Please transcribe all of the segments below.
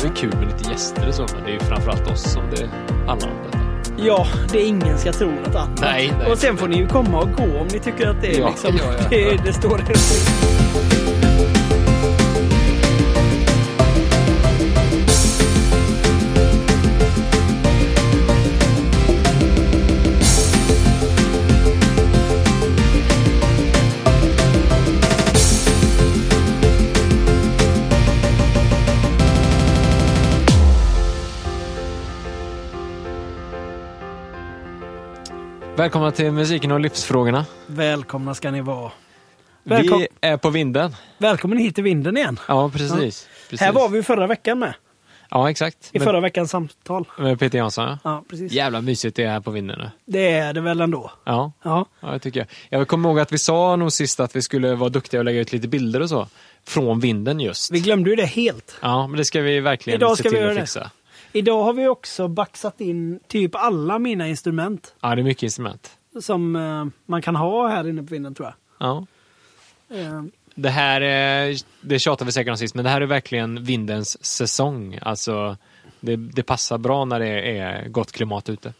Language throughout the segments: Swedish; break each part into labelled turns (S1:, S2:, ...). S1: det är kul med lite gäster och så, men det är ju framförallt oss som det handlar om. Detta.
S2: Ja, det är ingen ska tro något annat.
S1: Nej, nej.
S2: Och sen får ni ju komma och gå om ni tycker att det är
S1: Ja,
S2: liksom,
S1: ja, ja.
S2: Det, det står det.
S1: Välkomna till Musiken och livsfrågorna.
S2: Välkomna ska ni vara. Välkom-
S1: Vi är på vinden.
S2: Välkommen hit till vinden igen.
S1: Ja, precis. precis.
S2: Här var vi ju förra veckan med.
S1: Ja, exakt.
S2: I
S1: Med,
S2: förra veckans samtal.
S1: med Peter Jansson. ja.
S2: Ja, precis.
S1: Jävla mysigt det är här på vinden. nu.
S2: Det är det väl ändå.
S1: Ja.
S2: Ja.
S1: Ja, det tycker jag. Jag kommer ihåg att vi sa nog sist att vi skulle vara duktiga och lägga ut lite bilder och så. Från vinden just.
S2: Vi glömde ju det helt.
S1: Ja, men det ska vi verkligen
S2: Idag ska
S1: se till
S2: vi göra
S1: att
S2: det.
S1: fixa.
S2: Idag har vi också baxat in typ alla mina instrument
S1: Ja, det är mycket instrument.
S2: som eh, man kan ha här inne på vinden tror jag.
S1: Ja.
S2: Eh,
S1: Det här, är- det tjatar vi säkert om sist, men det här är verkligen vindens säsong. Alltså, det, det passar bra när det är gott klimat ute.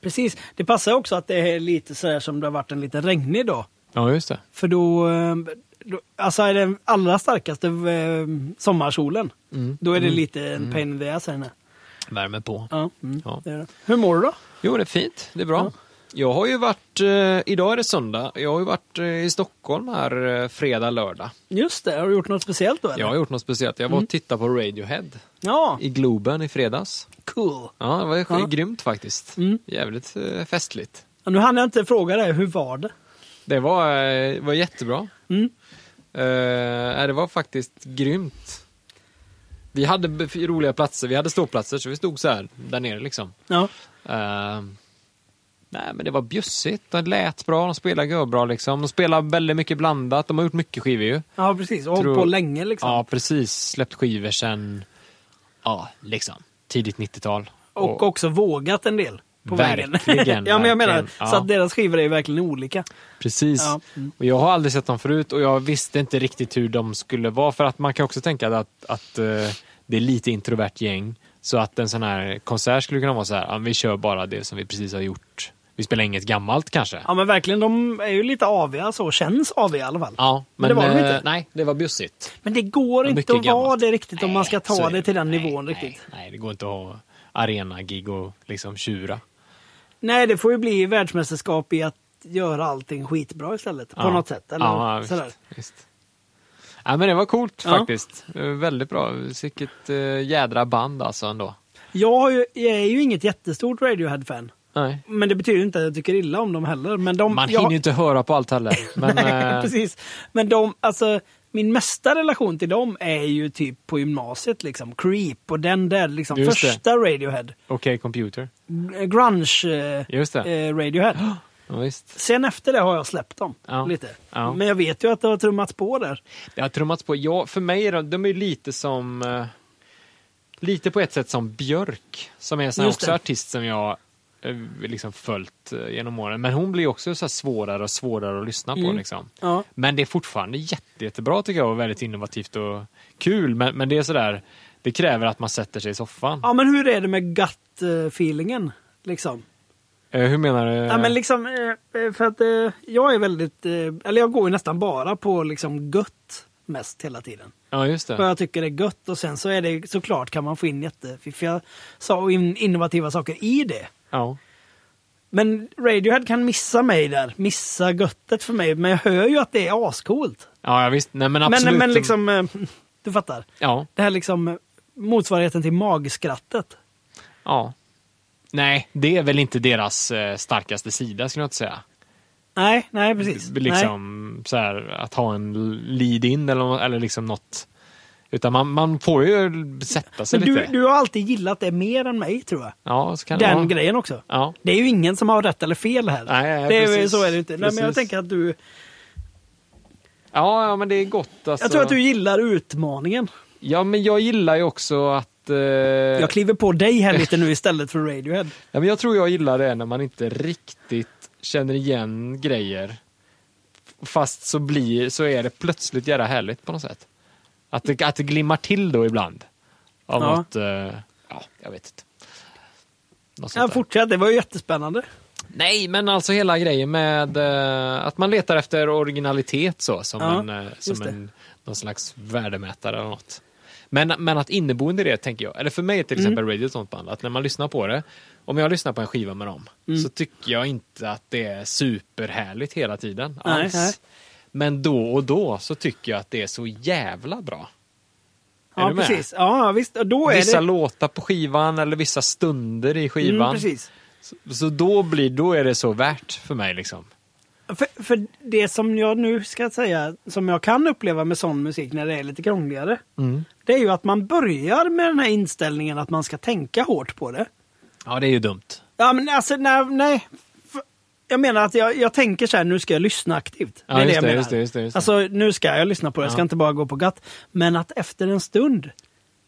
S2: precis. Det passar också att det är lite sådär som det har varit en liten regnig dag.
S1: Ja, just det.
S2: För då, eh, då alltså är den allra starkaste eh, sommarsolen.
S1: Mm.
S2: Då är det lite en pain in the ass här inne.
S1: Värme på.
S2: Ja, mm,
S1: Ja.
S2: Det är det. Hur mår du då?
S1: Jo, det är fint. Det är bra. Jag har ju varit, eh, idag är det söndag, jag har ju varit eh, i Stockholm här eh, fredag, lördag.
S2: Just det, har du gjort något speciellt då eller?
S1: Jag har gjort något speciellt. Jag var och tittade på Radiohead
S2: Ja,
S1: i Globen i fredags.
S2: cool.
S1: Ja, det var ju
S2: Ja.
S1: grymt faktiskt.
S2: Mm.
S1: Jävligt eh, festligt.
S2: Ja, Nu hann jag inte fråga dig, hur var det?
S1: Det var, eh, var jättebra.
S2: Mm.
S1: Eh, nej, det var faktiskt grymt. Vi hade b- roliga platser, vi hade ståplatser så vi stod så här där nere liksom.
S2: Ja.
S1: Eh, nej men det var bjussigt, det lät bra, de spelade bra liksom. De spelar väldigt mycket blandat, de har gjort mycket skivor ju.
S2: Ja, precis. Och
S1: Tror-
S2: hållit på länge liksom.
S1: Ja precis, släppt skivor sen, ja liksom, tidigt 90-tal.
S2: Och också vågat en del. På
S1: Verkligen,
S2: vägen. ja, men jag menar,
S1: verkligen.
S2: så
S1: Ja.
S2: att deras skivor är ju verkligen olika.
S1: Precis.
S2: Ja. Mm.
S1: Och jag har aldrig sett dem förut och jag visste inte riktigt hur de skulle vara. För att man kan också tänka att, att eh, det är lite introvert gäng. Så att en sån här konsert skulle kunna vara så här, "Ja, vi kör bara det som vi precis har gjort. Vi spelar inget gammalt kanske.
S2: Ja, men verkligen. De är ju lite aviga så. Känns aviga i alla fall.
S1: Ja,
S2: Men det var de
S1: eh,
S2: inte.
S1: Nej, det var bjussigt.
S2: Men det går
S1: Mycket
S2: inte att vara
S1: gammalt.
S2: det riktigt om man ska
S1: Nej, så
S2: ta
S1: är
S2: det till den
S1: Nej,
S2: nivån
S1: nej,
S2: riktigt.
S1: Nej, det går inte att ha arenagig och liksom tjura.
S2: Nej, det får ju bli världsmästerskap i att göra allting skitbra istället. På
S1: Ja.
S2: något sätt. Eller
S1: ja, visst,
S2: sådär.
S1: visst. Ja, men det var coolt
S2: Ja.
S1: faktiskt. Eh, Väldigt bra. Vilket eh, jädra band alltså ändå.
S2: Jag, har ju, jag är ju inget jättestort Radiohead-fan.
S1: Nej.
S2: Men det betyder inte att jag tycker illa om dem heller. Men de,
S1: Man
S2: jag,
S1: hinner ju inte höra på allt heller. Men, eh,
S2: Precis. Men de, alltså, min mesta relation till dem är ju typ på gymnasiet liksom. Creep och den där liksom
S1: Just det.
S2: första Radiohead.
S1: Okej, computer.
S2: G- Grunge eh,
S1: Just det.
S2: eh, Radiohead.
S1: Ja, visst.
S2: Sen efter det har jag släppt dem
S1: Ja.
S2: lite.
S1: Ja.
S2: Men jag vet ju att det har trummats på där.
S1: Det har trummats på. Ja, för mig är de, de är ju lite som... eh, Lite på ett sätt som Björk, som är en sån här
S2: Just
S1: också
S2: det.
S1: artist som jag eh, liksom följt eh, genom åren. Men hon blir också så här svårare och svårare att lyssna på.
S2: Mm.
S1: Liksom.
S2: Ja.
S1: Men det är fortfarande jätte, jättebra tycker jag och väldigt innovativt och kul. Men, men det är sådär, det kräver att man sätter sig i soffan.
S2: ja, men hur är det med gut-feelingen? Liksom?
S1: Eh, hur menar du?
S2: Ja, men liksom, eh, eh, för att eh, jag är väldigt, eh, eller jag går ju nästan bara på liksom gött mest hela tiden.
S1: ja just det.
S2: vad jag tycker är gött och sen så är det såklart kan man få in jättefiffiga sa- och in, innovativa saker i det.
S1: Ja.
S2: Men Radiohead kan missa mig där, missa göttet för mig, men jag hör ju att det är ascoolt.
S1: Ja, ja, visst. Nej, men absolut.
S2: Men, men liksom, eh, du fattar.
S1: Ja.
S2: Det här liksom eh, motsvarigheten till magskrattet.
S1: Ja. Nej, det är väl inte deras eh, starkaste sida skulle jag inte säga.
S2: Nej, nej precis.
S1: B- Liksom så här, att ha en lead-in eller, eller liksom något. Utan man, man får ju sätta sig
S2: nej. Men du,
S1: lite.
S2: du har alltid gillat det mer än mig tror jag.
S1: ja, så kan det
S2: Den
S1: vara.
S2: grejen också.
S1: Ja.
S2: Det är ju ingen som har rätt eller fel här.
S1: Nej, nej,
S2: det är, ju-
S1: precis.
S2: så är det inte. Nej, men
S1: Precis.
S2: jag tänker att du,
S1: Ja, ja, men det är gott alltså.
S2: jag tror att du gillar utmaningen.
S1: Ja, men jag gillar ju också att... Eh...
S2: Jag kliver på dig här lite nu istället för Radiohead.
S1: Ja, men jag tror jag gillar det när man inte riktigt känner igen grejer. Fast så, blir, så är det plötsligt jävla härligt på något sätt. Att det, att det glimmar till då ibland. Av
S2: Ja.
S1: något, eh, ja, jag vet inte. Något sånt
S2: Ja,
S1: där.
S2: fortsätt, det var ju jättespännande.
S1: Nej, men alltså hela grejen med eh, att man letar efter originalitet så, som,
S2: Ja,
S1: en, eh,
S2: just
S1: som
S2: det.
S1: en, någon slags värdemätare eller något. Men, men att inneboende i det, tänker jag, eller för mig är till exempel
S2: Mm.
S1: Radio ett sånt band, att när man lyssnar på det, om jag lyssnar på en skiva med dem,
S2: Mm.
S1: så tycker jag inte att det är superhärligt hela tiden.
S2: Nej,
S1: Alls.
S2: nej.
S1: Men då och då så tycker jag att det är så jävla bra. Är
S2: Ja,
S1: du med?
S2: precis. Ja, visst. Och Då är
S1: Vissa
S2: det...
S1: låtar på skivan eller vissa stunder i skivan.
S2: Mm, precis.
S1: Så då, blir, då är det så värt för mig liksom.
S2: För, för det som jag nu ska säga, som jag kan uppleva med sån musik när det är lite krångligare, det är ju att man börjar med den här inställningen att man ska tänka hårt på det.
S1: Ja, det är ju dumt.
S2: Ja, men alltså, nej. nej. För- Jag menar att jag, jag tänker så här, nu ska jag lyssna aktivt.
S1: Ja,
S2: det är
S1: just
S2: jag
S1: det,
S2: menar.
S1: just det, just det, just det.
S2: Alltså, nu ska jag lyssna på det, jag ska
S1: Ja.
S2: inte bara gå på gatt. Men att efter en stund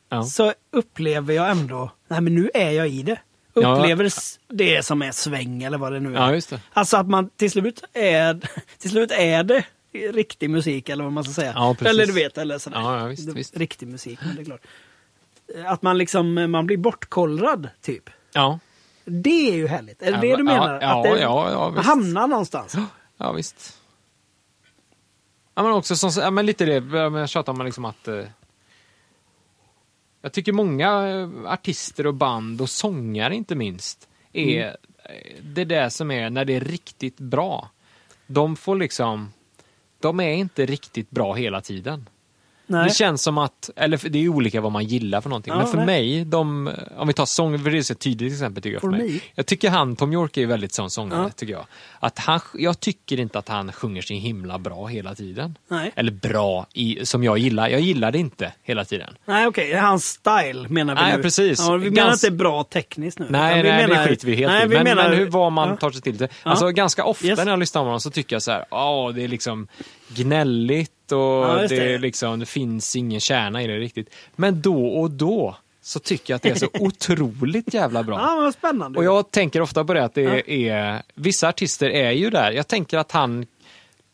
S1: Ja.
S2: så upplever jag ändå, nej men nu är jag i det.
S1: Ja.
S2: Upplever s- det som är sväng eller vad det nu är.
S1: Ja, just det.
S2: Alltså att man till slut är, till slut är det riktig musik eller vad man ska säga.
S1: Ja, precis.
S2: eller du vet, eller sådär.
S1: Ja, ja, visst, visst.
S2: Riktig musik, men det är klart. Att man liksom, man blir bortkollrad typ.
S1: Ja,
S2: Det är ju härligt. Är det
S1: Ja,
S2: det du
S1: ja,
S2: menar?
S1: ja,
S2: att det
S1: ja, ja, visst.
S2: hamnar någonstans?
S1: ja visst. Ja, men också som, ja, men lite det, ja, men jag tjatar om liksom att... Eh, jag tycker många eh, artister och band och sångare inte minst är eh, det där som är när det är riktigt bra. De får liksom... De är inte riktigt bra hela tiden.
S2: Nej.
S1: Det känns som att, eller för- det är ju olika vad man gillar för någonting,
S2: Ja,
S1: men för
S2: nej.
S1: mig, de, om vi tar sång, för det är ett tydligt exempel tycker jag för,
S2: For
S1: mig.
S2: me.
S1: Jag tycker han, Tom York är ju väldigt sån sångare
S2: Ja.
S1: tycker jag. Att han, jag tycker inte att han sjunger sin himla bra hela tiden.
S2: Nej.
S1: Eller bra, i, som jag gillar. Jag gillar det inte hela tiden.
S2: Nej okej, det är hans style menar vi
S1: Nej,
S2: nu.
S1: precis.
S2: Ja, vi
S1: Gans-
S2: menar inte bra tekniskt nu.
S1: Nej,
S2: utan vi
S1: nej
S2: menar,
S1: det skiter vi helt
S2: nej,
S1: i.
S2: vi
S1: Men,
S2: menar,
S1: men hur var man
S2: ja.
S1: tar sig till det. Alltså, Ganska ofta
S2: Yes.
S1: när jag lyssnar på honom så tycker jag så här, ja det är liksom gnälligt och
S2: just
S1: det, är
S2: det.
S1: liksom, det finns ingen kärna i det riktigt. Men då och då så tycker jag att det är så otroligt jävla bra.
S2: Ja, vad spännande.
S1: Och jag tänker ofta på det att det är, vissa artister är ju där. Jag tänker att han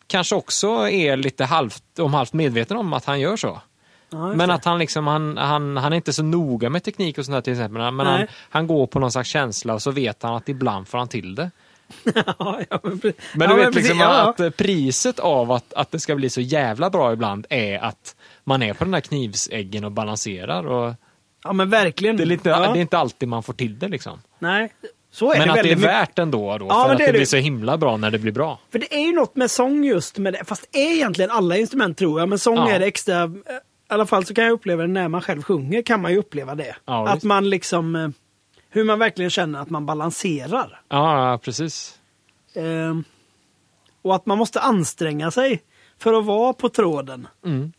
S1: kanske också är lite halvt, om halvt medveten om att han gör så.
S2: Ja, just
S1: Men
S2: det.
S1: att han liksom, han, han, han är inte så noga med teknik och sånt där till exempel. Men han,
S2: Nej.
S1: han går på någon slags känsla och så vet han att ibland får han till det.
S2: ja, ja, men pre-
S1: Men
S2: ja,
S1: du vet
S2: precis,
S1: liksom
S2: ja,
S1: att eh, priset av att, att det ska bli så jävla bra ibland är att man är på den där knivseggen och balanserar. Och
S2: Ja, men verkligen.
S1: det, är lite,
S2: ja.
S1: det är inte alltid man får till det liksom.
S2: Nej, så är
S1: Men att
S2: det
S1: det är
S2: väldigt mycket.
S1: värt ändå då,
S2: Ja,
S1: för
S2: men
S1: att
S2: det
S1: det,
S2: är det.
S1: blir så himla bra när det blir bra.
S2: För det är ju något med sång just med det. Fast det är egentligen alla instrument tror jag. Men sång
S1: Ja.
S2: är det extra. eh, I alla fall så kan jag uppleva det när man själv sjunger. Kan man ju uppleva det.
S1: Ja,
S2: att
S1: visst.
S2: man liksom. eh, Hur man verkligen känner att man balanserar.
S1: Ja, ja, precis.
S2: Eh, och att man måste anstränga sig för att vara på tråden.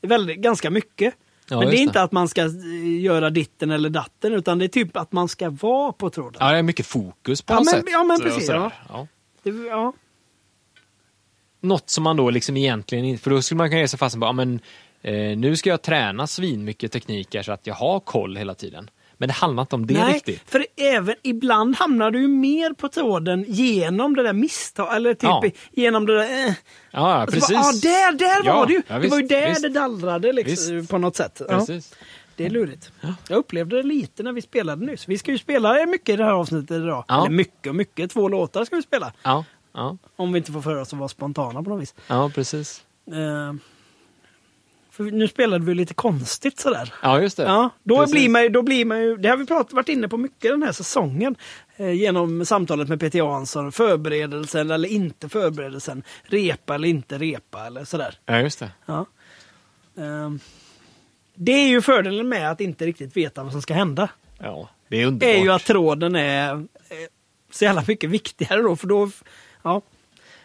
S2: Väldigt, ganska mycket.
S1: Mm. Ja,
S2: Men det
S1: just
S2: är inte
S1: det.
S2: att man ska eh, göra ditten eller datten utan det är typ att man ska vara på tråden.
S1: Ja, det är mycket fokus på
S2: Ja,
S1: något
S2: men-
S1: sätt.
S2: ja, men
S1: och
S2: precis,
S1: sådär. Ja.
S2: Det, ja.
S1: Något som man då liksom egentligen inte... För då skulle man kunna ge sig fasen på, ja, men eh, nu ska jag träna svinmycket tekniker så att jag har koll hela tiden. Men det handlar inte om det
S2: Nej,
S1: riktigt.
S2: för även ibland hamnar du ju mer på tråden genom det där misstag eller typ
S1: Ja.
S2: i- genom det där... Eh.
S1: Ja, ja,
S2: Och så
S1: precis.
S2: Bara, ah, där, där
S1: Ja,
S2: var det ju!
S1: ja,
S2: det var ju
S1: visst,
S2: där
S1: visst.
S2: det dallrade liksom,
S1: Visst.
S2: på något sätt. Ja,
S1: Precis.
S2: det är lurigt. Jag upplevde det lite när vi spelade nyss. Vi ska ju spela mycket i det här avsnittet idag.
S1: Ja.
S2: Eller mycket och mycket, två låtar ska vi spela.
S1: Ja, ja,
S2: Om vi inte får för oss att vara spontana på något vis.
S1: ja, precis.
S2: Eh, för nu spelade vi lite konstigt sådär.
S1: Ja, just det.
S2: Ja, då
S1: Precis.
S2: blir, man, ju- då blir man ju, det har vi pratat, varit inne på mycket den här säsongen. Eh, genom samtalet med Peter Jansson, förberedelsen eller inte förberedelsen, repa eller inte repa eller sådär.
S1: Ja, just det.
S2: Ja. Ehm, det är ju fördelen med att inte riktigt veta vad som ska hända.
S1: Ja, det är
S2: Det
S1: underbart.
S2: är ju att tråden är eh, så jävla mycket viktigare då, för då, ja.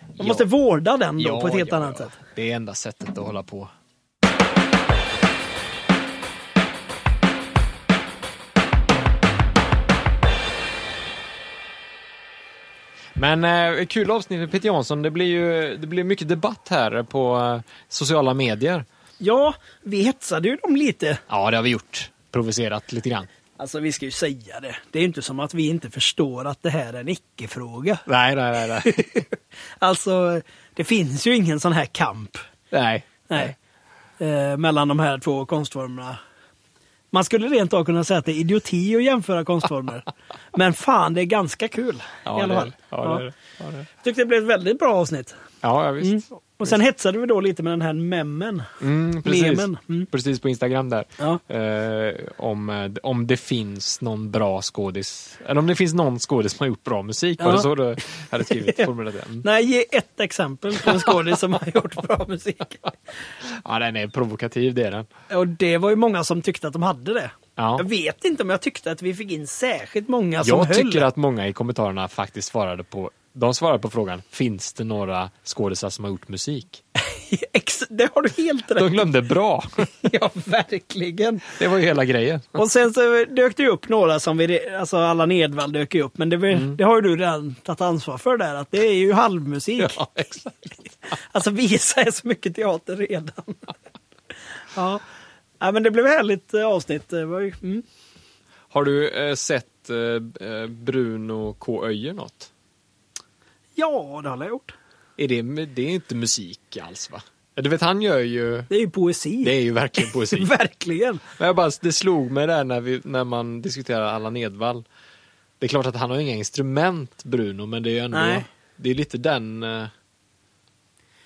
S2: Man
S1: Ja.
S2: måste vårda den då
S1: Ja,
S2: på ett helt
S1: ja,
S2: annat
S1: ja.
S2: sätt.
S1: Det är enda sättet att hålla på. Men eh, kul avsnitt med Peter Jansson. Det blir ju det blir mycket debatt här på eh, sociala medier.
S2: Ja, vi hetsade ju dem lite.
S1: Ja, det har vi gjort. Provocerat lite grann.
S2: Alltså vi ska ju säga det. Det är ju inte som att vi inte förstår att det här är en icke-fråga.
S1: Nej, nej, nej. Nej.
S2: Alltså, det finns ju ingen sån här kamp
S1: nej.
S2: nej, eh, mellan de här två konstformerna. Man skulle rent av kunna säga att det är idioti att jämföra konstformer. Men fan, det är ganska kul i alla
S1: det är
S2: fall.
S1: det. Ja, det är
S2: Ja.
S1: det. Ja,
S2: Mm.
S1: det är det.
S2: Tyckte det blev ett väldigt bra avsnitt.
S1: Ja, ja, visst.
S2: Och sen hetsade vi då lite med den här memmen.
S1: Mm, precis.
S2: Memen. Mm.
S1: precis på Instagram där.
S2: Ja.
S1: Eh, om, eh, om det finns någon bra skådis, eller om det finns någon skådis som har gjort bra musik. Var
S2: Ja.
S1: det så du hade skrivit? Formulerat det? Mm.
S2: Nej, ge ett exempel på en skådis som har gjort bra musik.
S1: Ja, den är provokativ, det är den.
S2: Och det var ju många som tyckte att de hade det.
S1: Ja.
S2: Jag vet inte om jag tyckte att vi fick in särskilt många som
S1: Jag
S2: Alltså, höll.
S1: tycker att många i kommentarerna faktiskt svarade på de svarade på frågan, finns det några skådisar som har gjort musik?
S2: Ex- det har du helt
S1: De
S2: rätt i.
S1: glömde bra.
S2: Ja, verkligen.
S1: Det var ju hela grejen.
S2: Och sen så dök det ju upp några som vi, re- alltså Allan Edwall dök ju upp, men det, var-
S1: Mm.
S2: det har ju du redan tagit ansvar för där, att det är ju halvmusik.
S1: Ja, exakt.
S2: Alltså visa är så mycket teater redan. ja. ja, men det blev ett härligt eh, avsnitt. Det var ju, mm.
S1: Har du eh, sett eh, eh, Bruno K. Öijer något?
S2: Ja, det har jag gjort.
S1: Är det, det är inte musik alls va? Du vet han gör ju,
S2: Det är ju poesi.
S1: det är ju verkligen poesi.
S2: Verkligen.
S1: Men jag bara, det slog mig där när, vi, när man diskuterar Allan Edwall. Det är klart att han har inga instrument Bruno, men det är ju ändå,
S2: Nej.
S1: det är lite den... eh,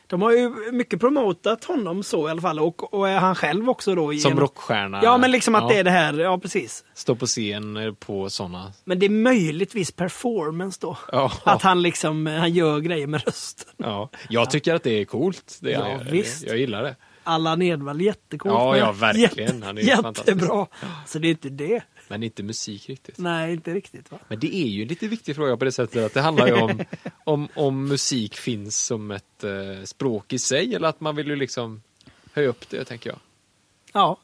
S2: De har ju mycket promotat honom så i alla fall och, och är han själv också då.
S1: Som
S2: genom-
S1: rockstjärna.
S2: Ja, men liksom att
S1: Ja.
S2: det är det här. Ja, precis.
S1: Stå på scen eh, på sådana.
S2: Men det är möjligtvis performance då.
S1: Ja.
S2: Att han liksom, eh, han gör grejer med rösten.
S1: Ja. Jag tycker att det är coolt. Det
S2: Ja,
S1: jag,
S2: visst.
S1: jag gillar det.
S2: Allan Edwall, jättecoolt.
S1: Ja,
S2: men
S1: ja, verkligen.
S2: jätte-
S1: Han är ju
S2: jättebra. Så det är inte det.
S1: Men inte musik riktigt.
S2: Nej, inte riktigt va?
S1: Men det är ju en lite viktig fråga på det sättet att det handlar ju om, om, om musik finns som ett eh, språk i sig eller att man vill ju liksom höja upp det, tänker jag.
S2: Ja,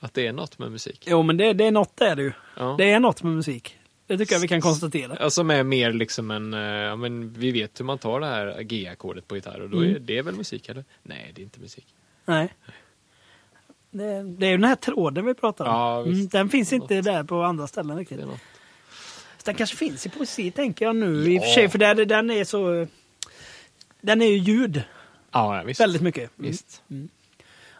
S1: Att det är något med musik.
S2: jo men det, det är något där du.
S1: Ja.
S2: Det är något med musik. Det tycker jag vi kan konstatera.
S1: Ja, Som är mer liksom en, eh, ja men vi vet hur man tar det här G-ackordet på gitarr och då
S2: Mm.
S1: är det väl musik eller? Nej, det är inte musik.
S2: Nej. Det, det är ju den här tråden vi pratar om.
S1: Ja, visst.
S2: Mm, den finns inte där på andra ställen riktigt.
S1: Det är något.
S2: Den kanske finns i poesi tänker jag nu i och för
S1: Ja.
S2: sig. För där, den är så... Den är ju ljud
S1: Ja, ja, visst.
S2: väldigt mycket. Mm.
S1: Visst.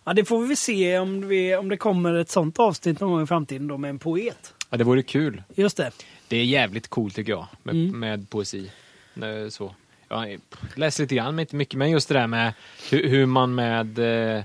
S2: Ja, det får vi väl se om, vi, om det kommer ett sånt avsnitt någon gång i framtiden då med en poet.
S1: Ja, det vore kul.
S2: Just det.
S1: Det är jävligt coolt tycker jag med,
S2: Mm.
S1: med poesi. Eh, Så. Jag läser lite grann, men inte mycket. Men just det där med hur, hur man med eh,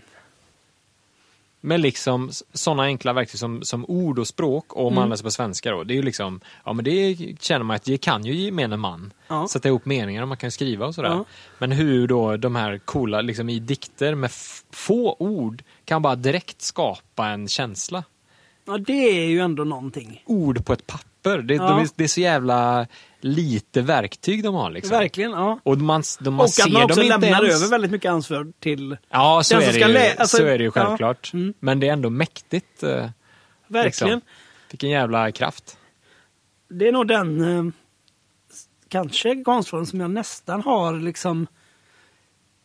S1: med liksom sådana enkla verktyg som, som ord och språk, och om
S2: Mm.
S1: man läser på svenska då, det är ju liksom, ja men det känner man att det kan ju gemene man.
S2: Ja.
S1: Sätta ihop meningar och man kan skriva och sådär.
S2: Ja.
S1: Men hur då de här coola, liksom i dikter med f- få ord, kan bara direkt skapa en känsla
S2: Ja, det är ju ändå någonting.
S1: ord på ett papper. Det,
S2: Ja.
S1: de är, det är så jävla lite verktyg de har. Liksom.
S2: Verkligen, ja.
S1: Och man, de, man
S2: och
S1: ser
S2: att man också
S1: dem inte
S2: lämnar
S1: ens.
S2: över väldigt mycket ansvar till...
S1: Ja, så
S2: Den som
S1: är, det
S2: ska
S1: ju,
S2: lä- alltså,
S1: så är det ju
S2: ja.
S1: självklart.
S2: Mm.
S1: Men det är ändå mäktigt. eh,
S2: Verkligen.
S1: Liksom. Vilken jävla kraft.
S2: Det är nog den eh, s- kanske konstform som jag nästan har liksom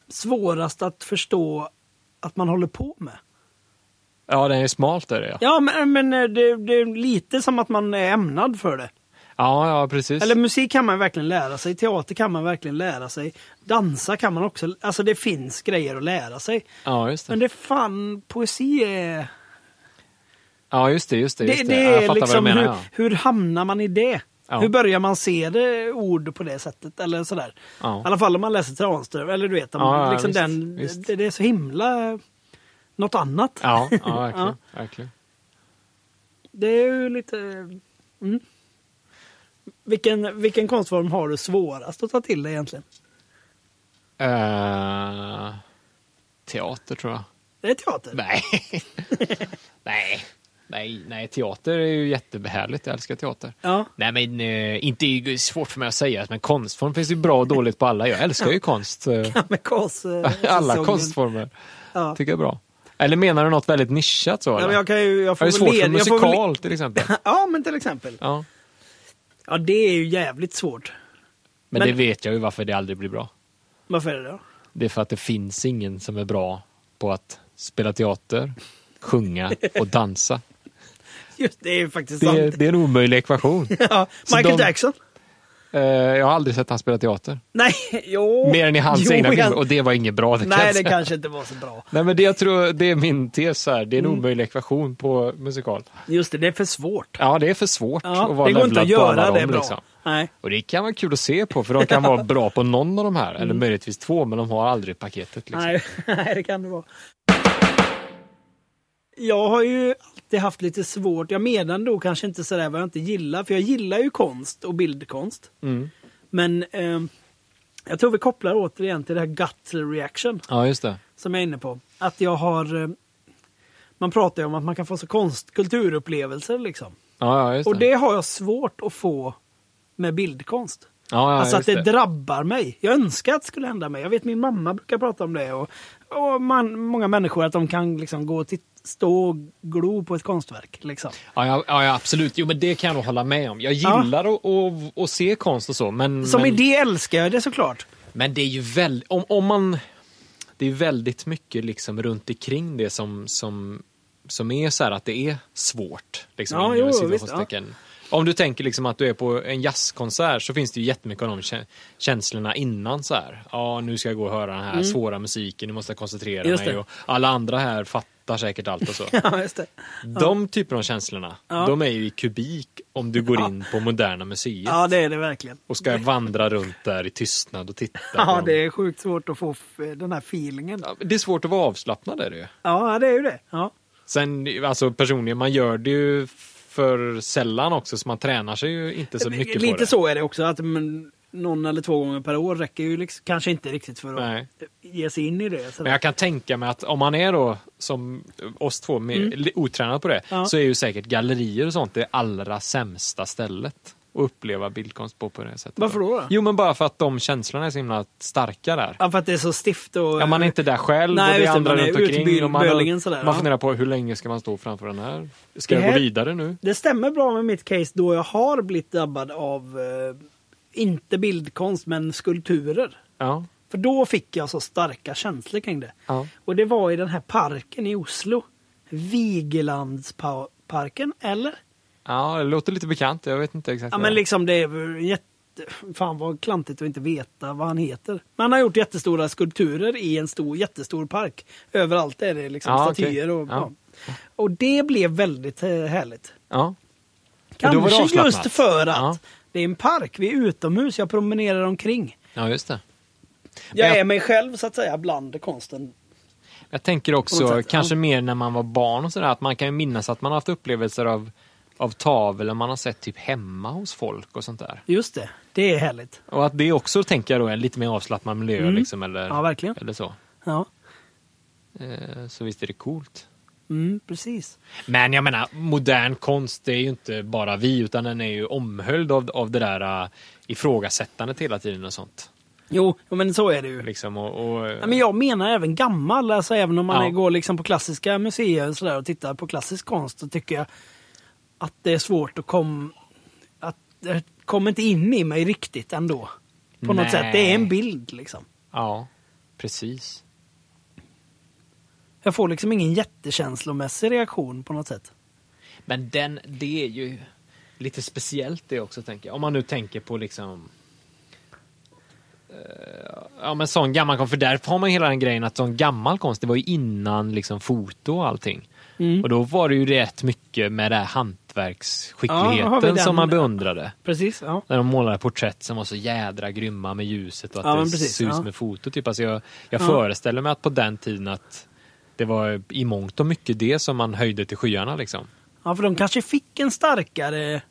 S2: svårast att förstå att man håller på med.
S1: Ja, den är smalt där ja.
S2: Ja, men, men eh, det, det är lite som att man är ämnad för det.
S1: Ja, ja precis.
S2: Eller musik kan man verkligen lära sig, teater kan man verkligen lära sig, dansa kan man också, alltså det finns grejer att lära sig.
S1: Ja, just det.
S2: Men det är fan, poesi är...
S1: Ja, just det. Just det, just
S2: Det,
S1: det.
S2: det
S1: Ja, jag
S2: är
S1: fattar
S2: liksom,
S1: vad du
S2: hur,
S1: menar. ja.
S2: hur hamnar man i det?
S1: Ja.
S2: Hur börjar man se det, ord på det sättet? Eller sådär.
S1: Ja.
S2: I alla fall om man läser Tranström, eller du vet, om
S1: Ja, ja,
S2: liksom
S1: visst,
S2: den,
S1: visst.
S2: Det, det är så himla något annat.
S1: Ja, ja, verkligen. verkligen.
S2: Det är ju lite... Mm. Vilken, vilken konstform har du svårast att ta till dig egentligen?
S1: Eh, teater tror jag.
S2: Det är teater.
S1: Nej. nej. Nej, nej, teater är ju jättebehärligt. Jag älskar teater.
S2: Ja.
S1: Nej, men eh, inte det är svårt för mig att säga, men konstform finns ju bra och dåligt på alla. Jag älskar ju konst. eh,
S2: Med kors, eh,
S1: alla
S2: säsongen.
S1: konstformer
S2: Ja.
S1: tycker jag är bra. Eller menar du något väldigt nischat så?
S2: Ja, men
S1: eller?
S2: jag kan ju... Jag
S1: Har
S2: får
S1: du
S2: väl
S1: svårt för
S2: led- jag får väl-
S1: musikal till exempel?
S2: Ja, men till exempel.
S1: Ja.
S2: Ja, det är ju jävligt svårt.
S1: Men,
S2: Men-
S1: det vet jag ju varför det aldrig blir bra.
S2: Varför är det då?
S1: Det är för att det finns ingen som är bra på att spela teater, sjunga och dansa.
S2: Just det, är ju faktiskt
S1: Det,
S2: sant.
S1: det är en omöjlig ekvation.
S2: Ja,
S1: Så
S2: Michael
S1: de-
S2: Jackson.
S1: Eh, jag har aldrig sett han spela teater.
S2: Nej, jo.
S1: Mer än i hans
S2: Jo,
S1: egna
S2: jag-
S1: filmer. Och det var inget bra. Det kan
S2: Nej,
S1: jag
S2: det
S1: säga.
S2: kanske inte var så bra.
S1: Nej, men det jag tror, det är min tes här. Det är en
S2: Mm.
S1: omöjlig ekvation på musikal.
S2: Just det, det är för svårt.
S1: Ja, det är för svårt att
S2: Ja,
S1: vara
S2: det går inte att
S1: levlat på alla
S2: göra det
S1: dem,
S2: bra.
S1: liksom.
S2: Nej.
S1: Och det kan vara kul att se på, för de kan vara bra på någon av de här. Eller möjligtvis två, men de har aldrig paketet. Liksom.
S2: Mm. Nej, nej, det kan det vara. Jag har ju alltid haft lite svårt, jag menar då kanske inte sådär vad jag inte gillar, för jag gillar ju konst och bildkonst.
S1: Mm.
S2: Men ehm, jag tror vi kopplar återigen till det här gut reaction
S1: Ja, just det.
S2: som jag är inne på. Att jag har... ehm, Man pratar ju om att man kan få så konst, kulturupplevelser liksom.
S1: Ja, ja, just
S2: Och
S1: det.
S2: det har jag svårt att få med bildkonst.
S1: Ja, ja,
S2: alltså att
S1: just
S2: det, drabbar mig. Jag önskar att det skulle hända mig. Jag vet min mamma brukar prata om det. Och, och man, många människor att de kan liksom gå och titt, stå och glo på ett konstverk. Liksom.
S1: Ja, ja, ja, ja, absolut. Jo, men det kan jag nog hålla med om. Jag gillar att, att, att se konst och så, men...
S2: Som
S1: men,
S2: idé älskar jag det såklart.
S1: men det är ju väldigt... Om, om man... Det är ju väldigt mycket liksom runt omkring det som, som, som är så här att det är svårt. Liksom,
S2: Ja,
S1: inom
S2: jo,
S1: citationstecken. Om du tänker liksom att du är på en jazzkonsert så finns det ju jättemycket av de kä- känslorna innan så här. Ja, nu ska jag gå och höra den här svåra musiken, nu måste jag koncentrera
S2: Mm. Just
S1: mig.
S2: det.
S1: Och alla andra här fattar säkert allt och så.
S2: Ja, just det.
S1: De typerna av känslorna,
S2: Ja.
S1: de är ju i kubik om du går in på Moderna Museet
S2: Ja, det är det verkligen.
S1: och ska vandra runt där i tystnad och titta. på
S2: Ja,
S1: dem.
S2: det är sjukt svårt att få f- den här feelingen.
S1: Ja, det är svårt att vara avslappnad är det ju.
S2: Ja, det är ju det. Ja.
S1: Sen, alltså personligen, man gör det ju för sällan också så man tränar sig ju inte så mycket
S2: Lite
S1: på det.
S2: så är det också. Att men, någon eller två gånger per år räcker ju liksom, kanske inte riktigt för att
S1: Nej.
S2: ge sig in i det. sådär.
S1: Men jag kan tänka mig att om man är då som oss två, med, li- otränad på det,
S2: Mm. Ja.
S1: så är ju säkert gallerier och sånt det allra sämsta stället att uppleva bildkonst på på det sättet.
S2: Varför då då?
S1: Jo men bara för att de känslorna är så himla starka där.
S2: Ja, för att det är så stift och...
S1: Ja, man är inte där själv
S2: Nej,
S1: och det är
S2: just det,
S1: andra
S2: man är
S1: runt omkring.
S2: utbyl-
S1: Och man,
S2: bölingen sådär,
S1: man
S2: ja.
S1: funderar på hur länge ska man stå framför den här? Ska
S2: Det
S1: jag gå
S2: här-
S1: vidare nu?
S2: Det stämmer bra med mitt case då jag har blivit drabbad av, eh, inte bildkonst, men skulpturer.
S1: Ja.
S2: För då fick jag så starka känslor kring det.
S1: Ja.
S2: Och det var i den här parken i Oslo. Vigelandsparken, eller?
S1: ja, det låter lite bekant. Jag vet inte exakt.
S2: Ja
S1: vad
S2: men
S1: det är.
S2: liksom det är väl jätte... Fan vad klantigt att inte veta vad han heter. Men han har gjort jättestora skulpturer i en stor, jättestor park. Överallt är det liksom
S1: Ja, okej.
S2: statyer och...
S1: Ja.
S2: Ja. Och det blev väldigt eh, härligt.
S1: ja. då var det
S2: Kanske
S1: avslappnat.
S2: just för att
S1: Ja.
S2: det är en park, vi är utomhus, jag promenerar omkring.
S1: ja, just det. Men
S2: Jag
S1: jag-
S2: är mig själv så att säga bland konsten.
S1: Jag tänker
S2: På
S1: också,
S2: något sätt,
S1: kanske mer när man var barn och sådär, att man kan ju minnas att man har haft upplevelser av, av tavlor man har sett typ hemma hos folk och sånt där.
S2: Just det, det är härligt.
S1: Och att det också tänker jag då är en lite mer avslappnad miljö liksom, eller,
S2: Mm. Ja, verkligen.
S1: eller så.
S2: Ja,
S1: Eh, Så visst är det coolt.
S2: mm, precis.
S1: Men jag menar, modern konst det är ju inte bara vi, utan den är ju omhöljd av, av det där uh, ifrågasättandet hela tiden och sånt.
S2: Jo, men så är det ju.
S1: Liksom, och, och, eh,
S2: Ja, men jag menar även gammal, alltså även om man
S1: Ja.
S2: är- går liksom på klassiska museer och, så där och tittar på klassisk konst så tycker jag att det är svårt att komma... Att det kommer inte in i mig riktigt ändå. På
S1: Nej.
S2: något sätt. Det är en bild liksom.
S1: ja, precis.
S2: Jag får liksom ingen jättekänslomässig reaktion på något sätt.
S1: Men den, det är ju lite speciellt det också, tänker jag. Om man nu tänker på liksom... eh, Ja men sån gammal konst, för där har man hela den grejen att sån gammal konst, det var ju innan liksom foto och allting.
S2: Mm.
S1: Och då var det ju rätt mycket med det här
S2: Ja, har vi
S1: hantverksskickligheten
S2: den?
S1: som man beundrade.
S2: Precis, ja.
S1: När de målade porträtt som var så jädra grymma med ljuset och att
S2: Ja,
S1: det
S2: men precis,
S1: syns
S2: ja.
S1: med foto. Typ. Alltså jag jag
S2: Ja.
S1: föreställer mig att på den tiden att det var i mångt och mycket det som man höjde till skyarna. Liksom.
S2: Ja, för de kanske fick en starkare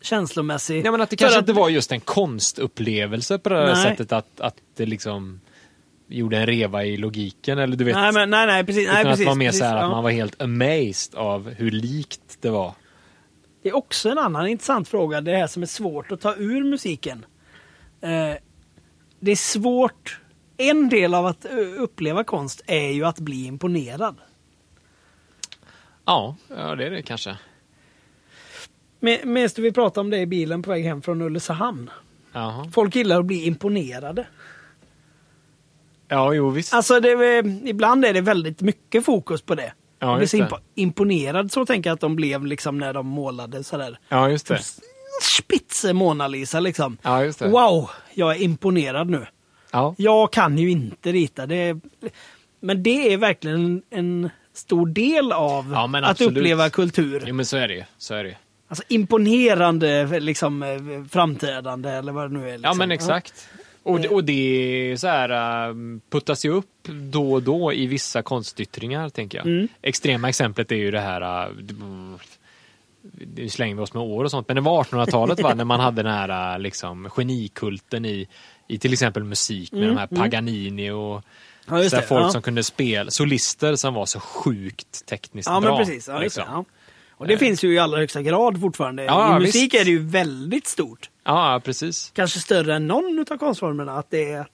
S2: känslomässig...
S1: Ja, men att det
S2: För
S1: kanske inte var just en konstupplevelse på det här
S2: Nej.
S1: sättet att, att det liksom gjorde en reva i logiken. Eller du vet,
S2: Nej, men, nej, nej, precis.
S1: utan
S2: Nej,
S1: att
S2: precis,
S1: det var mer
S2: precis,
S1: så här att
S2: ja.
S1: man var helt amazed av hur likt det var.
S2: Det är också en annan intressant fråga, det här som är svårt att ta ur musiken. Eh, det är svårt, en del av att eh, uppleva konst är ju att bli imponerad.
S1: Ja, ja det är det kanske.
S2: Me- Medan vi pratade om det i bilen på väg hem från Ulricehamn.
S1: Jaha.
S2: Folk gillar att bli imponerade.
S1: Ja, jo visst.
S2: Alltså det, är- ibland är det väldigt mycket fokus på det.
S1: Ja,
S2: Jag blir så
S1: just det.
S2: impo- imponerad så tänker jag att de blev liksom när de målade sådär.
S1: Ja, just det.
S2: Spitz hans Mona Lisa liksom.
S1: Ja, just det.
S2: Wow, jag är imponerad nu.
S1: Ja.
S2: Jag kan ju inte rita. Det är... Men det är verkligen en stor del av
S1: Ja, men
S2: att
S1: absolut.
S2: uppleva kultur.
S1: Jo, men så är det ju. Så är det ju.
S2: Alltså imponerande liksom, eh, framträdande eller vad det nu är. Liksom.
S1: Ja, men exakt. Och, det- och det är så här, um, puttas ju upp då och då i vissa konstyttringar, tänker jag.
S2: Mm.
S1: Extrema exemplet är ju det här... uh, Nu slänger vi oss med år och sånt, men det var 1800-talet va? när man hade den här uh, liksom, genikulten i, i till exempel musik med de här Paganini och
S2: Mm, Ja, just
S1: så här
S2: det.
S1: folk
S2: Ja.
S1: som kunde spela, solister som var så sjukt tekniskt
S2: Ja,
S1: bra.
S2: men precis. Ja, just det.
S1: liksom.
S2: ja. Och det finns ju i allra högsta grad fortfarande.
S1: Ja,
S2: I musik
S1: visst.
S2: är det ju väldigt stort.
S1: ja, precis.
S2: Kanske större än någon utav konstformerna. Att, det är,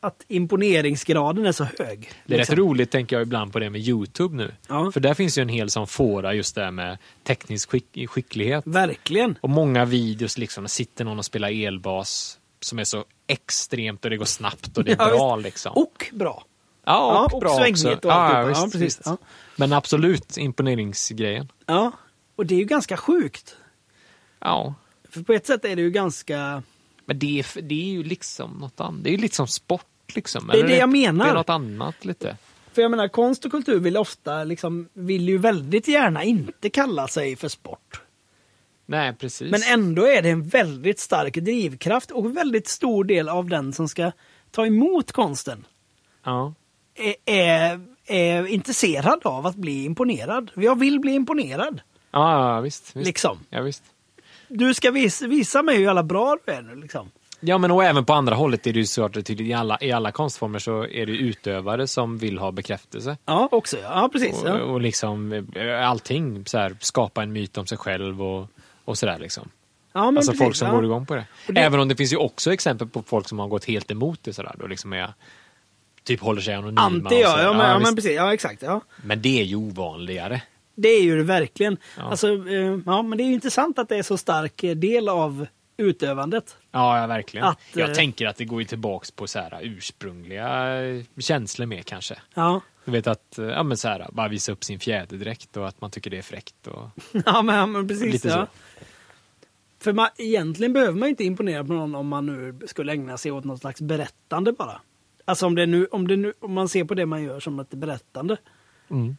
S2: att imponeringsgraden är så hög.
S1: Det är
S2: liksom.
S1: rätt roligt tänker jag ibland på det med Youtube nu.
S2: Ja.
S1: För där finns ju en hel sån fåra just det här med teknisk skick skicklighet.
S2: Verkligen.
S1: Och många videos liksom, där sitter någon och spelar elbas som är så extremt och det går snabbt och det är
S2: Ja,
S1: bra
S2: visst.
S1: liksom.
S2: Och bra.
S1: ja,
S2: ja, och
S1: bra
S2: svängigt
S1: också.
S2: och
S1: ja,
S2: alltihopa.
S1: visst,
S2: Ja, precis.
S1: visst.
S2: Ja.
S1: Men absolut imponeringsgrejen.
S2: Ja. Och det är ju ganska sjukt.
S1: Ja.
S2: För på ett sätt är det ju ganska...
S1: Men det är, f- det är ju liksom något annat. Det är ju liksom sport liksom.
S2: Det är det jag
S1: Det
S2: menar.
S1: är något annat lite.
S2: För jag menar, konst och kultur vill ofta, liksom, vill ju väldigt gärna inte kalla sig för sport.
S1: Nej, precis.
S2: Men ändå är det en väldigt stark drivkraft och en väldigt stor del av den som ska ta emot konsten
S1: ja.
S2: är, är, är intresserad av att bli imponerad. Jag vill bli imponerad.
S1: Ja, ja, visst. visst.
S2: Liksom.
S1: Ja, visst.
S2: Du ska visa, visa mig hur jävla bra du är nu liksom.
S1: Ja, men och även på andra hållet är det ju såklart tydligt. I alla, I alla konstformer så är det ju utövare som vill ha bekräftelse.
S2: Ja, också ja. ja precis.
S1: Och,
S2: Ja.
S1: och liksom eh, allting, så här, skapa en myt om sig själv och, och sådär liksom.
S2: Ja, men
S1: alltså
S2: precis,
S1: folk som
S2: ja.
S1: går igång på det.
S2: Och det-
S1: Även om det finns ju också exempel på folk som har gått helt emot det sådär. Då liksom är, typ håller sig anonyma.
S2: Ante
S1: och
S2: ja,
S1: sådär.
S2: ja, men, ja, men
S1: visst.
S2: precis. Ja, exakt. Ja.
S1: men det är ju ovanligare.
S2: Det är ju det verkligen.
S1: Ja.
S2: Alltså, eh, ja, men det är ju intressant att det är så stark eh, del av utövandet.
S1: Ja, ja verkligen.
S2: Att, eh,
S1: Jag tänker att det går ju tillbaks på så här, ursprungliga eh, känslor mer kanske.
S2: Ja,
S1: Du vet att, eh, ja men så här, bara visa upp sin fjäderdräkt och att man tycker det är fräckt. Och...
S2: ja men, ja, men precis.
S1: Lite så.
S2: ja. För man, egentligen behöver man ju inte imponera på någon om man nu skulle ägna sig åt något slags berättande bara. Alltså om, det nu, om, det nu, om man ser på det man gör som ett berättande.
S1: Mm.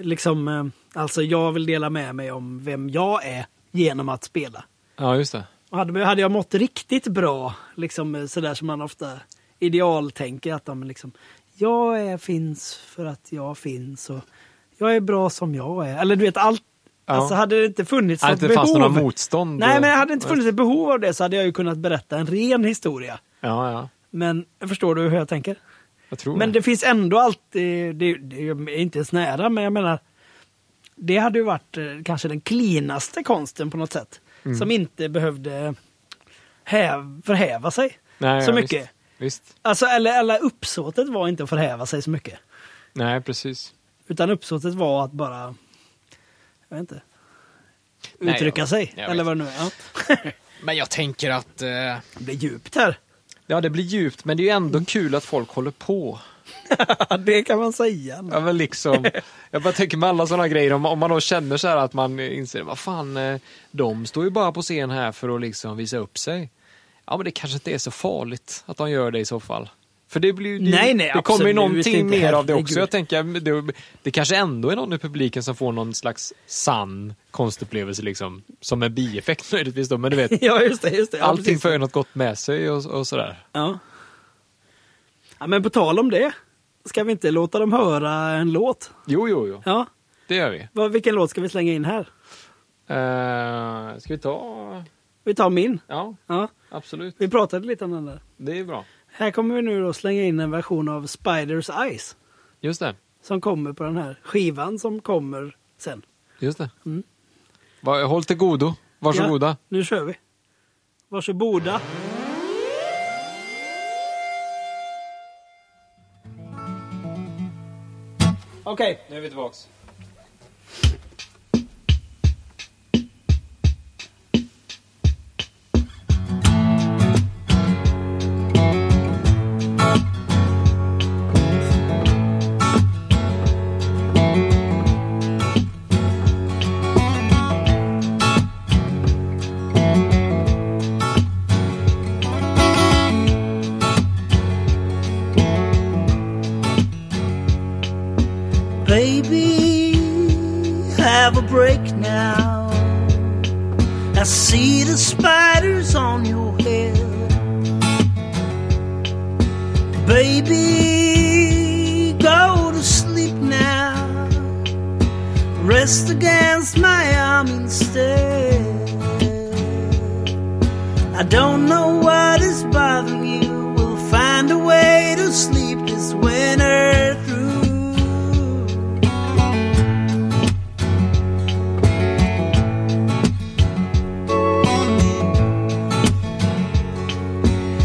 S2: Liksom, eh, alltså jag vill dela med mig om vem jag är genom att spela.
S1: Ja, just det.
S2: Och hade, hade jag mått riktigt bra, liksom eh, sådär som man ofta idealtänker att de liksom, jag är, finns för att jag finns och jag är bra som jag är. Eller du vet allt.
S1: Ja.
S2: Alltså hade det inte funnits
S1: Att
S2: något
S1: det fanns
S2: behov.
S1: några motstånd.
S2: Nej
S1: och-
S2: men hade det inte funnits ett behov av det så hade jag ju kunnat berätta en ren historia.
S1: Ja, ja.
S2: Men förstår du hur jag tänker?
S1: Jag tror
S2: Men
S1: det.
S2: det finns ändå alltid, det, det är inte ens nära, men jag menar, det hade ju varit eh, kanske den cleanaste konsten på något sätt. Som inte behövde häv, förhäva sig
S1: Nej,
S2: så
S1: ja,
S2: mycket.
S1: Visst. visst.
S2: Alltså, eller, eller uppsåtet var inte att förhäva sig så mycket.
S1: Nej, precis.
S2: Utan uppsåtet var att bara, jag vet inte,
S1: Nej,
S2: uttrycka
S1: jag-
S2: sig.
S1: jag
S2: eller
S1: vet.
S2: vad det nu är. Ja.
S1: Men jag tänker att... eh,
S2: Det blir djupt här.
S1: Ja, det blir djupt, men det är ju ändå kul att folk håller på.
S2: Ja, det kan man säga.
S1: Ja, men liksom, jag bara tänker med alla sådana grejer, om, om man då känner så här att man inser, vad fan, eh, de står ju bara på scen här för att liksom visa upp sig. Ja, men det kanske inte är så farligt att de gör det i så fall. För det, blir, ju- det,
S2: Nej, nej,
S1: det kommer ju
S2: absolut
S1: någonting
S2: inte,
S1: mer av det också.
S2: herregud.
S1: Jag tänker, det, det kanske ändå är någon i publiken som får någon slags sann konstupplevelse, liksom, som en bieffekt möjligtvis. Då, men du vet,
S2: Ja, just det. Just det. Ja,
S1: allting
S2: precis.
S1: för något gott med sig och, och sådär.
S2: Ja. ja. Men på tal om det. Ska vi inte låta dem höra en låt?
S1: Jo, jo, jo,
S2: Ja.
S1: det gör vi.
S2: Vad, vilken låt ska vi slänga in här?
S1: Uh, ska vi ta...
S2: Vi tar min.
S1: Ja,
S2: Ja.
S1: absolut.
S2: Vi pratade lite om den där.
S1: Det är bra.
S2: Här kommer vi nu då slänga in en version av Spiders Eyes.
S1: Just det.
S2: Som kommer på den här skivan som kommer sen.
S1: Just det. Va- Håll till godo. Varsågoda.
S2: Ja, nu kör vi. Varsågoda. Okej.
S1: Nu är vi tillbaks.
S2: I see the spiders on your head. Baby, go to sleep now. Rest against my arm instead. I don't know what is bothering you. We'll find a way to sleep this winter through.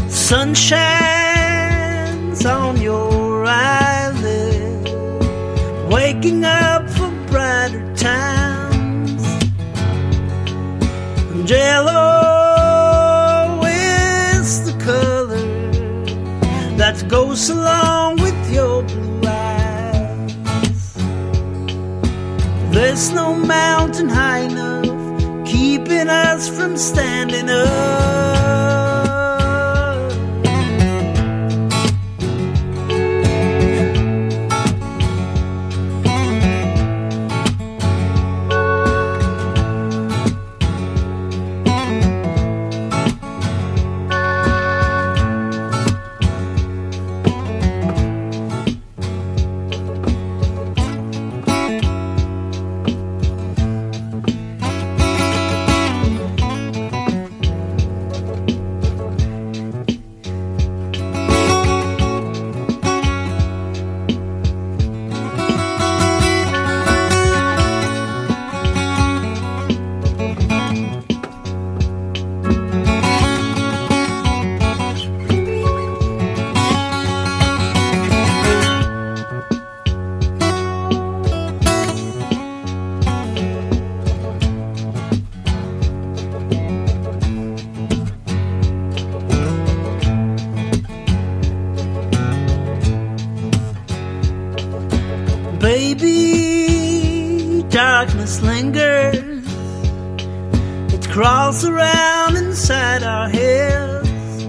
S2: Sun shines on your eyelid, waking up for brighter times. And yellow is the color that goes along with your blue eyes. There's no mountain high enough keeping us from standing up. Baby, darkness lingers. It crawls around inside our heads.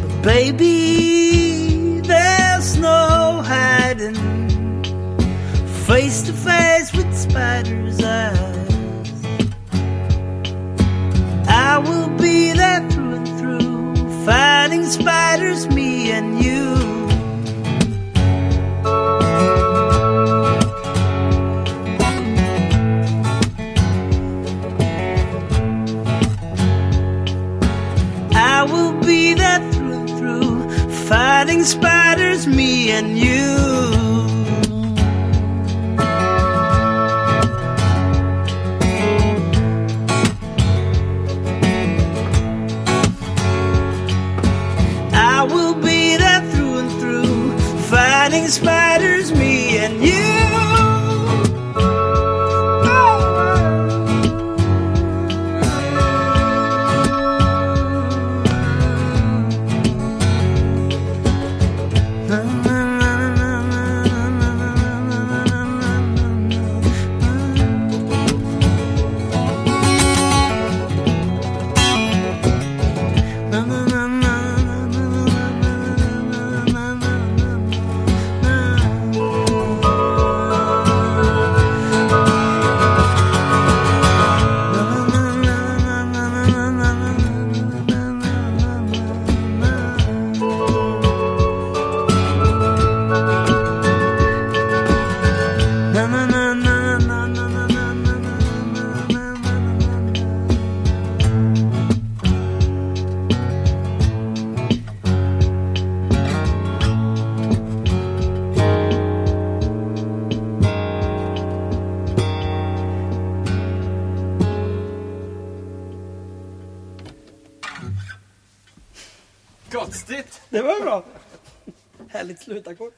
S2: But baby, there's no hiding. Face to face with spider's eyes. I will be there through and through, fighting spiders, me and you. I will be there through and through, fighting spiders, me and you. I will be there through and through, fighting spiders, me and you.
S1: Konstigt!
S3: Det var bra. Härligt slutackord.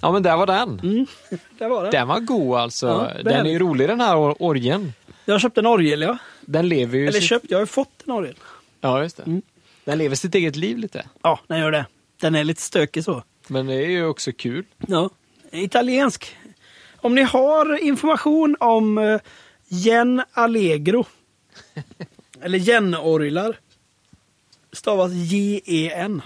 S1: Ja men där var den.
S3: Där var det.
S1: Den var god alltså.
S3: Ja,
S1: Mm. den är ju
S3: behövligt.
S1: rolig den här or- orgeln.
S3: Jag köpte en orgel, ja.
S1: Den lever ju
S3: Eller
S1: sitt...
S3: köpt, jag har ju fått en orgel.
S1: Ja, just det. Den lever sitt eget liv lite.
S3: Ja, den gör det. Den är lite stökig så.
S1: Men det är ju också kul.
S3: Ja. Italiensk. Om ni har information om eh, Jen Allegro
S2: Eller jenorglar. Stavas J-E-N.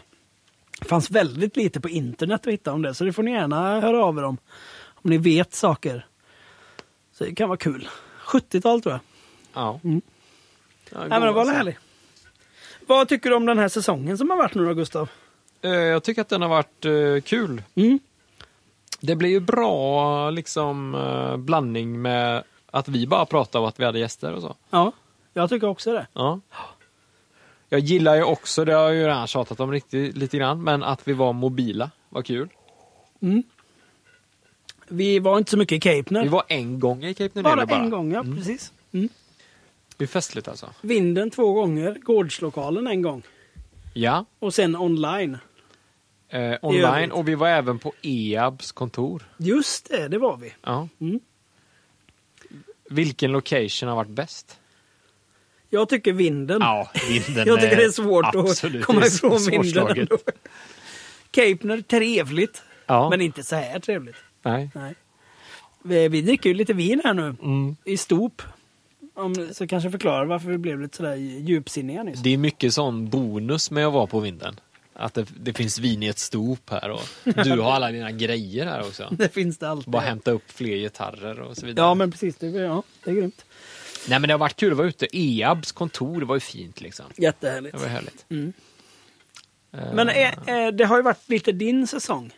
S2: Fanns väldigt lite på internet att hitta om det, så det får ni gärna höra av er om. Om ni vet saker. Så det kan vara kul. 70-tal tror jag.
S1: Ja.
S2: Mm.
S1: Ja,
S2: Nej, men det var
S1: god,
S2: väl
S1: alltså.
S2: härligt. Vad tycker du om den här säsongen som har varit nu då, Gustav?
S1: Eh, Jag tycker att den har varit eh, kul.
S2: Mm.
S1: Det blir ju bra liksom eh, blandning med att vi bara pratar och att vi hade gäster och så.
S2: Ja, jag tycker också det.
S1: Ja. Jag gillar ju också, det har jag ju redan tjatat om riktigt, lite grann, men att vi var mobila var kul.
S2: Vi var inte så mycket i Cape
S1: Vi
S2: nu.
S1: var en gång i Cape Nordea
S2: Bara en gång, ja. Precis. Mm.
S1: Det är festligt alltså.
S2: Vinden två gånger, gårdslokalen en gång
S1: Ja,
S2: och sen online.
S1: eh,
S2: övrigt.
S1: online och vi var även på EABs kontor.
S2: Just det, det var vi.
S1: Ja.
S2: Mm.
S1: Vilken location har varit bäst?
S2: Jag tycker vinden.
S1: Ja, vinden
S2: Mm. jag tycker det är svårt
S1: absolut,
S2: att komma
S1: det är så
S2: ifrån vinden.
S1: svårslaget.
S2: ändå. Capener, trevligt.
S1: Ja,
S2: Men inte så här trevligt.
S1: nej.
S2: Nej. Vi, vi dricker ju lite vin här nu.
S1: Mm.
S2: I stop. Om, så kanske förklarar varför vi blev lite sådär djupsinniga nyss.
S1: Det är mycket sån bonus med att vara på vinden. Att det, det finns vin i ett stop här och du har alla dina grejer här också.
S2: Det finns det alltid.
S1: Bara hämta upp fler gitarrer och så vidare.
S2: Ja men precis, det, ja, det är grymt.
S1: Nej men det har varit kul att vara ute. EABs kontor, det var ju fint liksom.
S2: Jättehärligt.
S1: Det var ju härligt.
S2: Mm. Men eh, eh, det har ju varit lite din säsong.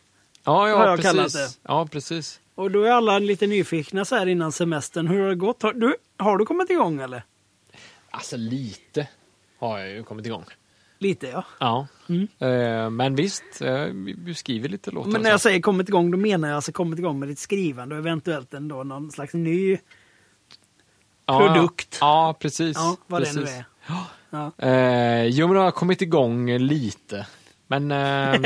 S1: Ja,
S2: Har
S1: ja
S2: jag kallat det.
S1: precis. Ja, precis.
S2: Och då är alla lite nyfikna så här innan semestern. Hur har det gått? Har du, har du kommit igång eller?
S1: Alltså lite har jag ju kommit igång.
S2: Lite ja.
S1: Ja. Eh, men visst, eh, vi vi skriver lite låtar
S2: Mm. Men
S1: och
S2: när jag
S1: så.
S2: säger kommit igång då menar jag alltså kommit igång med ditt skrivande och eventuellt ändå någon slags ny.
S1: Ja,
S2: alltså, produkt.
S1: Ja, ja, precis.
S2: Ja, vad
S1: precis.
S2: det nu är. Ja.
S1: Eh, jo, men jag har kommit igång lite. Men ehm,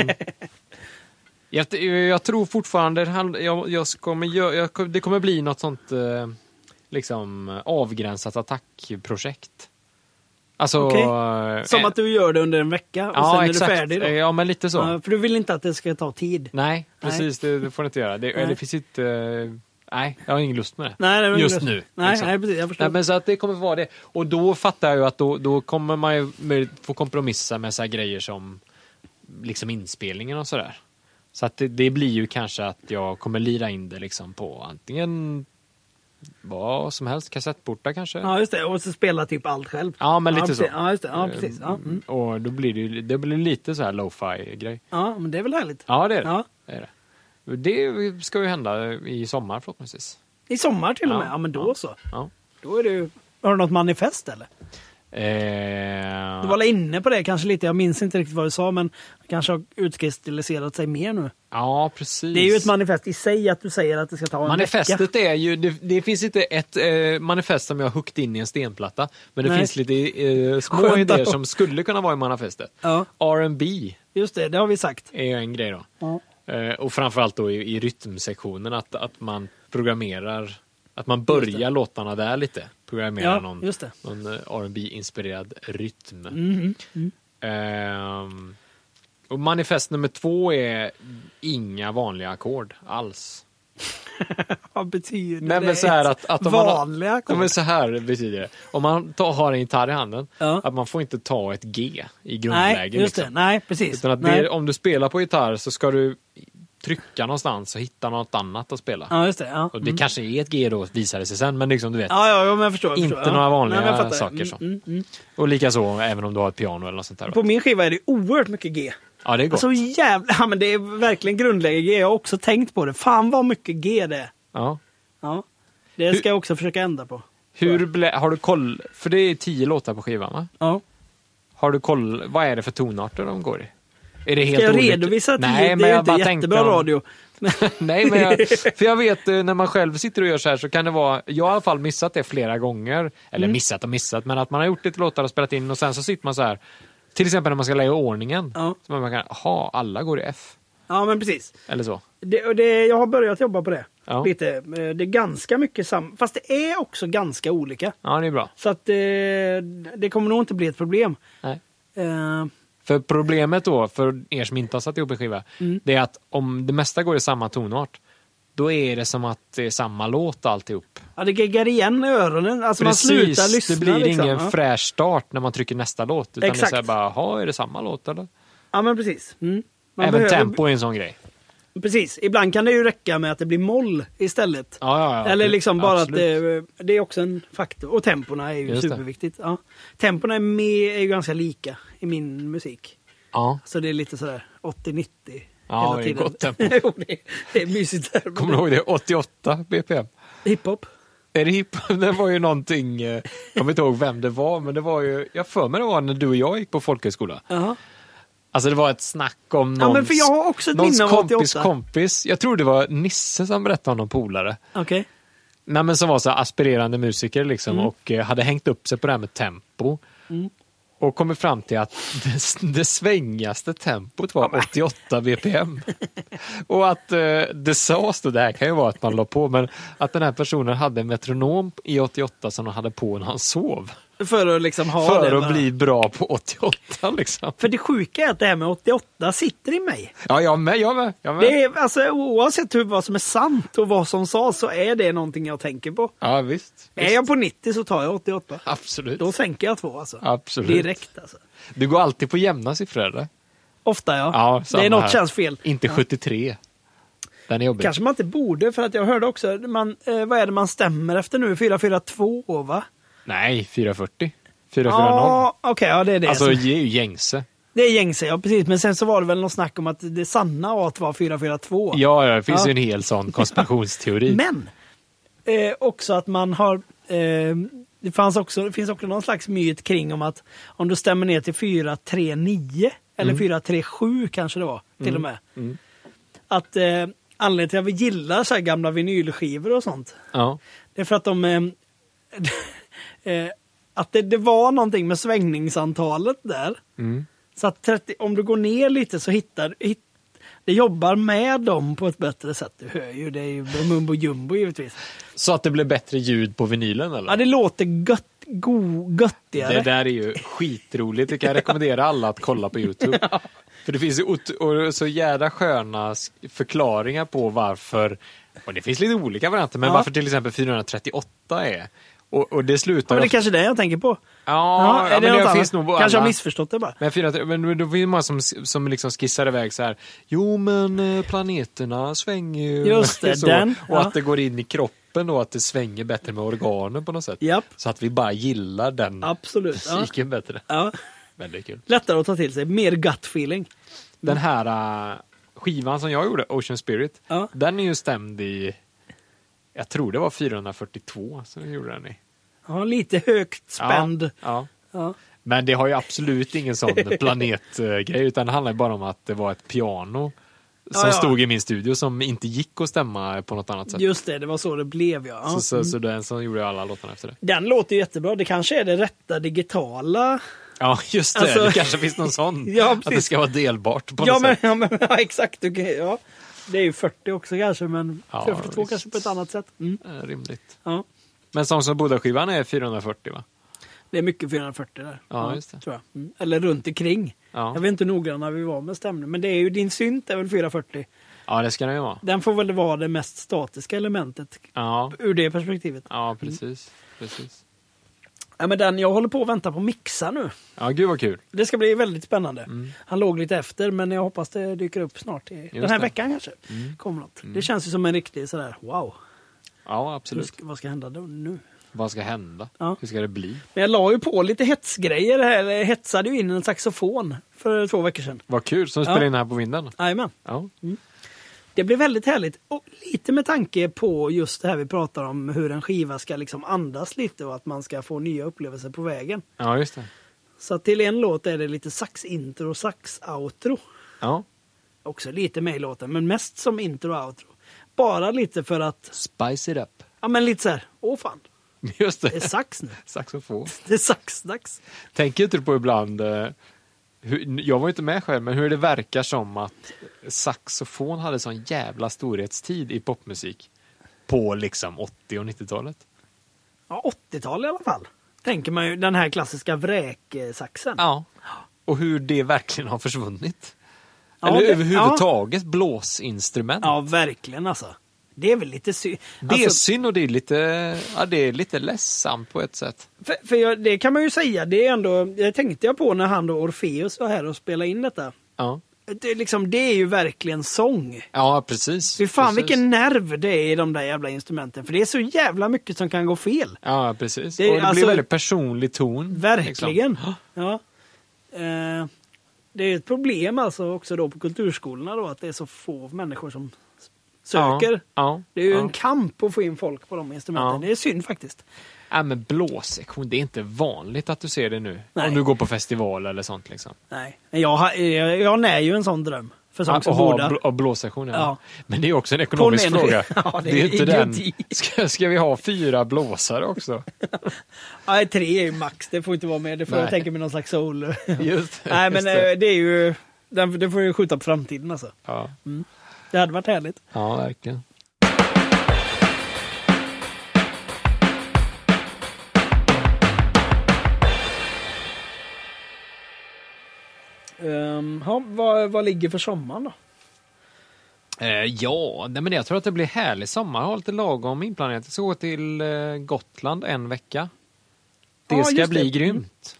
S1: jag, jag tror fortfarande, det handl- jag, jag kommer, gö- jag, kom- det kommer bli något sånt eh, liksom avgränsat attackprojekt. Alltså...
S2: Okej.
S1: eh,
S2: Som att du gör det under en vecka och sen är du färdig. Då.
S1: Eh, Ja, men lite så.
S2: Ja, för du vill inte att det ska ta tid.
S1: Nej, precis. Det, det får du inte göra. Det,
S2: Nej.
S1: det finns inte... eh, nej, jag har ingen lust med det.
S2: Nej, det var
S1: Just
S2: inte-
S1: nu,
S2: Nej,
S1: liksom.
S2: nej precis. Jag förstår.
S1: Nej, men så att det kommer vara det. Och då fattar jag ju att då, då kommer man ju möjligt- få kompromissa med så här grejer som liksom inspelningen och sådär. Så att det, det blir ju kanske att jag kommer lira in det liksom på antingen vad som helst, kassettportar kanske.
S2: Ja, just det. Och så spela typ allt själv.
S1: Ja, men lite
S2: precis.
S1: så. Eh,
S2: Ja, just det. Ja, precis. Ja, mm.
S1: Och då blir det ju det blir lite så här lo-fi grej.
S2: ja, men det är väl härligt.
S1: Ja, det är det.
S2: Ja.
S1: det, är det. Det ska ju hända i sommar förhoppningsvis.
S2: I sommar till och
S1: Ja,
S2: med. Ja, men då
S1: ja.
S2: så.
S1: Ja.
S2: Då är det ju... Har du något manifest eller?
S1: Eh,
S2: Du var väl inne på det kanske lite. Jag minns inte riktigt vad du sa, men det kanske har utkristalliserat sig mer nu.
S1: ja, precis.
S2: Det är ju ett manifest i sig att du säger att det ska ta en vecka.
S1: Manifestet är ju, det, det finns inte ett eh, manifest som jag har huggit in i en stenplatta. Men det
S2: Nej.
S1: finns lite eh, små
S2: Skönt
S1: idéer
S2: då.
S1: som skulle kunna vara i manifestet.
S2: Ja,
S1: R&B
S2: just det. Det har vi sagt.
S1: är ju en grej då.
S2: Ja.
S1: Eh, och framförallt då i, i rytmsektionen att, att man programmerar, att man
S2: Just det.
S1: börjar låtarna där lite. Programmerar
S2: Ja,
S1: någon,
S2: just det.
S1: någon eh, R&B inspirerad rytm.
S2: Mhm.
S1: Ehm, och manifest nummer två är inga vanliga ackord alls.
S2: Vad betyder
S1: Nej,
S2: det?
S1: men så här att, att om man har-
S2: Vanliga
S1: Ja,
S2: kommer...
S1: men så här betyder det. Om man tar, har en gitarr i handen,
S2: Ja.
S1: att man får inte ta ett G i grundläge.
S2: Nej, just det.
S1: liksom.
S2: Nej, precis.
S1: Utan att det,
S2: Nej.
S1: är- om du spelar på gitarr så ska du trycka någonstans och hitta något annat att spela.
S2: Ja, just det. Ja.
S1: Och det kanske är ett G då, visar det sig sen, men liksom du vet.
S2: Ja, ja, ja, men jag förstår. Jag
S1: Inte
S2: förstår. ja.
S1: några vanliga
S2: Nej, men jag fattar.
S1: saker så.
S2: Mm, mm,
S1: Och likaså även om du har ett piano eller något sånt där.
S2: mm. På Alltså- min skiva är det oerhört mycket G.
S1: Ja, det är gott.
S2: Så jävla... Ja, men det är verkligen grundläggande G. Jag har också tänkt på det. Fan vad mycket G det är.
S1: Ja.
S2: Ja. Det ska jag också försöka ändra på.
S1: Hur blä, har du koll? För det är tio låtar på skivan va?
S2: Ja.
S1: Har du koll? Vad är det för tonarter de går i? Är det helt
S2: Ska jag
S1: olika?
S2: redovisa att
S1: Nej,
S2: det,
S1: men
S2: det är
S1: jag
S2: inte
S1: bara tänkte
S2: jättebra
S1: om-
S2: radio? Men,
S1: Nej, men jag, för jag vet eh, när man själv sitter och gör så här så kan det vara, jag har i alla fall missat det flera gånger, eller
S2: Mm.
S1: missat och missat, men att man har gjort lite låtar och spelat in och sen så sitter man så här, till exempel när man ska lägga i ordningen,
S2: Ja.
S1: så man kan, ha alla går i F,
S2: ja, men precis.
S1: eller så.
S2: Det, och det, jag har börjat jobba på det.
S1: Ja.
S2: Lite. Eh, Det är ganska mycket samma. Fast det är också ganska olika.
S1: Ja, det är bra.
S2: Så att eh, det kommer nog inte bli ett problem.
S1: Nej.
S2: Eh,
S1: För
S2: Mm.
S1: problemet då, för er som inte har satt ihop en skiva, det är att om det mesta går i samma tonart, då är det som att det är samma låt alltihop.
S2: Ja, det geggar igen i öronen. Alltså man slutar lyssna.
S1: det blir
S2: liksom.
S1: ingen
S2: ja.
S1: fräsch start när man trycker nästa låt. Utan
S2: Exakt.
S1: det är så här bara, jaha, är det samma låt eller?
S2: ja, men precis. Mm. Man
S1: Även
S2: behöver-
S1: tempo är en sån grej.
S2: Precis. Ibland kan det ju räcka med att det blir moll istället.
S1: Ja, ja, ja.
S2: Eller liksom bara
S1: Absolut.
S2: att det, det är också en faktor. Och tempona är ju
S1: Just det.
S2: superviktigt. Ja. Tempona är, med, är ju ganska lika i min musik.
S1: Ja.
S2: Så det är lite sådär 80-90
S1: Ja, det är gott tempo.
S2: jo, det, är- det är mysigt där.
S1: Kommer du ihåg det? 88 BPM.
S2: Hiphop.
S1: Är det hip? Det var ju någonting, eh, jag kommer inte ihåg vem det var, men det var ju, jag för mig det var när du och jag gick på folkhögskola.
S2: Jaha.
S1: Alltså det var ett snack om någons,
S2: Ja, men för jag har också ett
S1: någons
S2: minne av
S1: kompis
S2: 88.
S1: kompis. Jag tror det var Nisse som berättade om någon polare.
S2: Okej.
S1: Nej, men som var så här aspirerande musiker liksom
S2: Mm.
S1: och eh, hade hängt upp sig på det här med tempo. Och kommit fram till att det, det svängigaste tempot var 88 bpm. och att eh, det sades då, det här kan ju vara att man la på, men att den här personen hade en metronom i 88 som han hade på när han sov.
S2: För att liksom ha
S1: för
S2: det.
S1: att
S2: bara.
S1: bli bra på 88 liksom.
S2: För det sjuka är att det här med 88 sitter i mig.
S1: Ja, jag med, jag med. Jag med.
S2: Det är, alltså, oavsett hur, vad som är sant och vad som sades så är det någonting jag tänker på.
S1: Ja, visst.
S2: Är jag på 90 så tar jag 88.
S1: Absolut.
S2: Då sänker jag två alltså.
S1: Absolut.
S2: Direkt alltså.
S1: Du går alltid på jämna siffror eller?
S2: Ofta ja. det
S1: samma här.
S2: är något känns fel.
S1: Inte
S2: ja.
S1: 73. Den är jobbig.
S2: Kanske man inte borde för att jag hörde också, man, eh, vad är det man stämmer efter nu? 442 va?
S1: Nej, 440. 440.
S2: Ja, okej, ja det är det.
S1: alltså
S2: som-
S1: det är ju gängse.
S2: det är gängse, ja precis. Men sen så var det väl något snack om att det sanna att var 442.
S1: Ja, ja, det finns
S2: Ja.
S1: ju en hel sån konspirationsteori.
S2: Men! Eh, också att man har... Eh, det, fanns också, det finns också någon slags myt kring om att om du stämmer ner till 439
S1: Mm.
S2: eller 437 kanske det var till och med. Att eh, anledningen till att vi gillar så här gamla vinylskivor och sånt
S1: Ja.
S2: det är för att de... Eh, eh, att det, det var någonting med svängningsantalet där.
S1: Mm.
S2: Så att 30, om du går ner lite så hittar hit, det jobbar med dem på ett bättre sätt. Du hör ju, det är ju mumbo jumbo givetvis.
S1: Så att det blev bättre ljud på vinylen eller?
S2: Ja, det låter gött, go, göttigare.
S1: Det där är ju skitroligt. Det kan jag rekommendera alla att kolla på YouTube. För det finns ju ot- och så jädra sköna s- förklaringar på varför, och det finns lite olika varianter, men
S2: Ja.
S1: varför till exempel 438 är. Och, och det slutar
S2: ja, men det
S1: ofta-
S2: är kanske är det jag tänker på.
S1: Ja,
S2: är
S1: ja,
S2: det
S1: men
S2: något
S1: det
S2: annat?
S1: finns nog på
S2: Kanske har
S1: alla. Mm.
S2: missförstått det bara.
S1: Men, 400, men då var det många som, som liksom skissar iväg så här. Jo men eh, planeterna svänger ju.
S2: Just det,
S1: så,
S2: den,
S1: Och
S2: ja.
S1: att det går in i kroppen då, att det svänger bättre med organen på något sätt.
S2: Japp.
S1: Så att vi bara gillar den
S2: Absolut. Ja.
S1: musiken bättre.
S2: Ja.
S1: Väldigt kul.
S2: Lättare att ta till sig, mer gut feeling.
S1: Den här eh, skivan som jag gjorde, Ocean Spirit,
S2: Ja.
S1: den är ju stämd i, jag tror det var 442 som jag gjorde den i.
S2: Ja, lite högt spänd.
S1: Ja, ja.
S2: Ja.
S1: Men det har ju absolut ingen sån planetgrej, utan det handlar ju bara om att det var ett piano som
S2: Ja, ja.
S1: stod i min studio som inte gick att stämma på något annat sätt.
S2: Just det, det var så det blev ja. ja.
S1: så, så, så den som gjorde alla låtarna efter det.
S2: Den låter ju jättebra. Det kanske är det rätta digitala.
S1: Ja, just det.
S2: Alltså-
S1: Det kanske finns någon sån.
S2: Ja,
S1: att det
S2: precis.
S1: ska vara delbart på något
S2: Ja men,
S1: sätt.
S2: ja, men ja, exakt. Du kan- ja. Det är ju 40 också kanske, men
S1: Ja,
S2: 42
S1: visst.
S2: kanske på ett annat sätt. Mm.
S1: Eh, Rimligt.
S2: Ja.
S1: Men Sång som Buddha-skivan är 440 va?
S2: Det är mycket 440 där.
S1: Ja, just det.
S2: Tror jag. Mm. Eller runt omkring.
S1: Ja.
S2: Jag vet inte hur noggranna vi var med stämning, men det är ju, din synt är väl 440.
S1: Ja, det ska den ju vara.
S2: Den får väl vara det mest statiska elementet
S1: Ja,
S2: ur det perspektivet.
S1: ja precis. precis.
S2: Ja, men den, jag håller på att vänta på mixa nu.
S1: Ja, gud vad kul.
S2: Det ska bli väldigt spännande.
S1: Mm.
S2: Han låg lite efter men jag hoppas det dyker upp snart. I, den här
S1: det. Mm.
S2: veckan kanske. Kommer något. Det känns ju som en riktig sådär wow.
S1: Ja,
S2: Hur
S1: absolut.
S2: ska, vad ska hända då, nu?
S1: Vad ska hända?
S2: Ja.
S1: Hur ska det bli?
S2: Men jag la ju på lite hetsgrejer här. Jag hetsade ju in en saxofon för två veckor sedan.
S1: Vad kul som
S2: Ja.
S1: spelar in här på vinden.
S2: Jajamän.
S1: Ja.
S2: Det blev väldigt härligt. Och lite med tanke på just det här vi pratar om hur en skiva ska liksom andas lite och att man ska få nya upplevelser på vägen.
S1: ja, just det.
S2: Så att till en låt är det lite sax-intro och sax-outro.
S1: Ja.
S2: Också lite med i låten, men mest som intro och outro. Bara lite för att,
S1: Spice it up.
S2: ja men lite så här, åh fan,
S1: Just
S2: det är
S1: det.
S2: sax nu.
S1: Saxofon.
S2: Det är saxdags.
S1: Tänker inte du på ibland, eh, hur, jag var ju inte med själv, men hur det verkar som att saxofon hade sån jävla storhetstid i popmusik på liksom 80 och 90-talet.
S2: Ja, 80-tal i alla fall. Tänker man ju, den här klassiska vräksaxen.
S1: Ja. Och hur det verkligen har försvunnit.
S2: Ja,
S1: Eller
S2: det-
S1: överhuvudtaget blåsinstrument.
S2: Ja, verkligen alltså. Det är väl lite synd.
S1: Det är
S2: alltså-
S1: synd och det är lite, ja, det är lite ledsamt på ett sätt.
S2: För, för jag, det kan man ju säga, det är ändå, det tänkte jag på när han då Orfeus var här och spelade in detta.
S1: Ja,
S2: Det, är liksom, det är ju verkligen sång.
S1: ja precis.
S2: Fy fan
S1: precis.
S2: vilken nerv det är i de där jävla instrumenten. För det är så jävla mycket som kan gå fel.
S1: Ja, precis.
S2: Det är-
S1: och det
S2: alltså-
S1: blir väldigt personlig ton.
S2: Verkligen.
S1: liksom.
S2: Ja. Eh, det är ett problem alltså också då på kulturskolorna då att det är så få människor som s- söker.
S1: Ja, ja,
S2: Det är ju
S1: ja.
S2: en kamp att få in folk på de instrumenten.
S1: Ja.
S2: Det är synd faktiskt.
S1: Ja, men blåsektion, det är inte vanligt att du ser det nu.
S2: Nej.
S1: Om du går på festival eller sånt. Liksom.
S2: Nej, men jag, har- jag, jag när ju en sån dröm. För sång
S1: Att
S2: som
S1: ha
S2: båda.
S1: bl- och blåsektion, ja.
S2: Ja.
S1: Men det är också en ekonomisk
S2: På en-
S1: fråga.
S2: Ja, det
S1: är
S2: är
S1: inte den.
S2: idioti.
S1: Ska, ska vi ha fyra blåsare också?
S2: Nej, tre är ju max. Det får inte vara med. Det får jag
S1: Nej.
S2: tänka mig någon slags soul.
S1: Just, det,
S2: Nej,
S1: just
S2: men
S1: det.
S2: eh, det är ju... Den, det får jag ju skjuta på framtiden alltså.
S1: Ja.
S2: Det hade varit härligt.
S1: ja, verkligen.
S2: Ehm, ja, vad, vad ligger för sommaren då?
S1: Eh, ja, nej, men jag tror att det blir härlig sommar. Jag har lite lagom inplanerat. Jag ska gå till eh, Gotland en vecka. Det
S2: Ja,
S1: ska
S2: just
S1: bli
S2: det.
S1: grymt.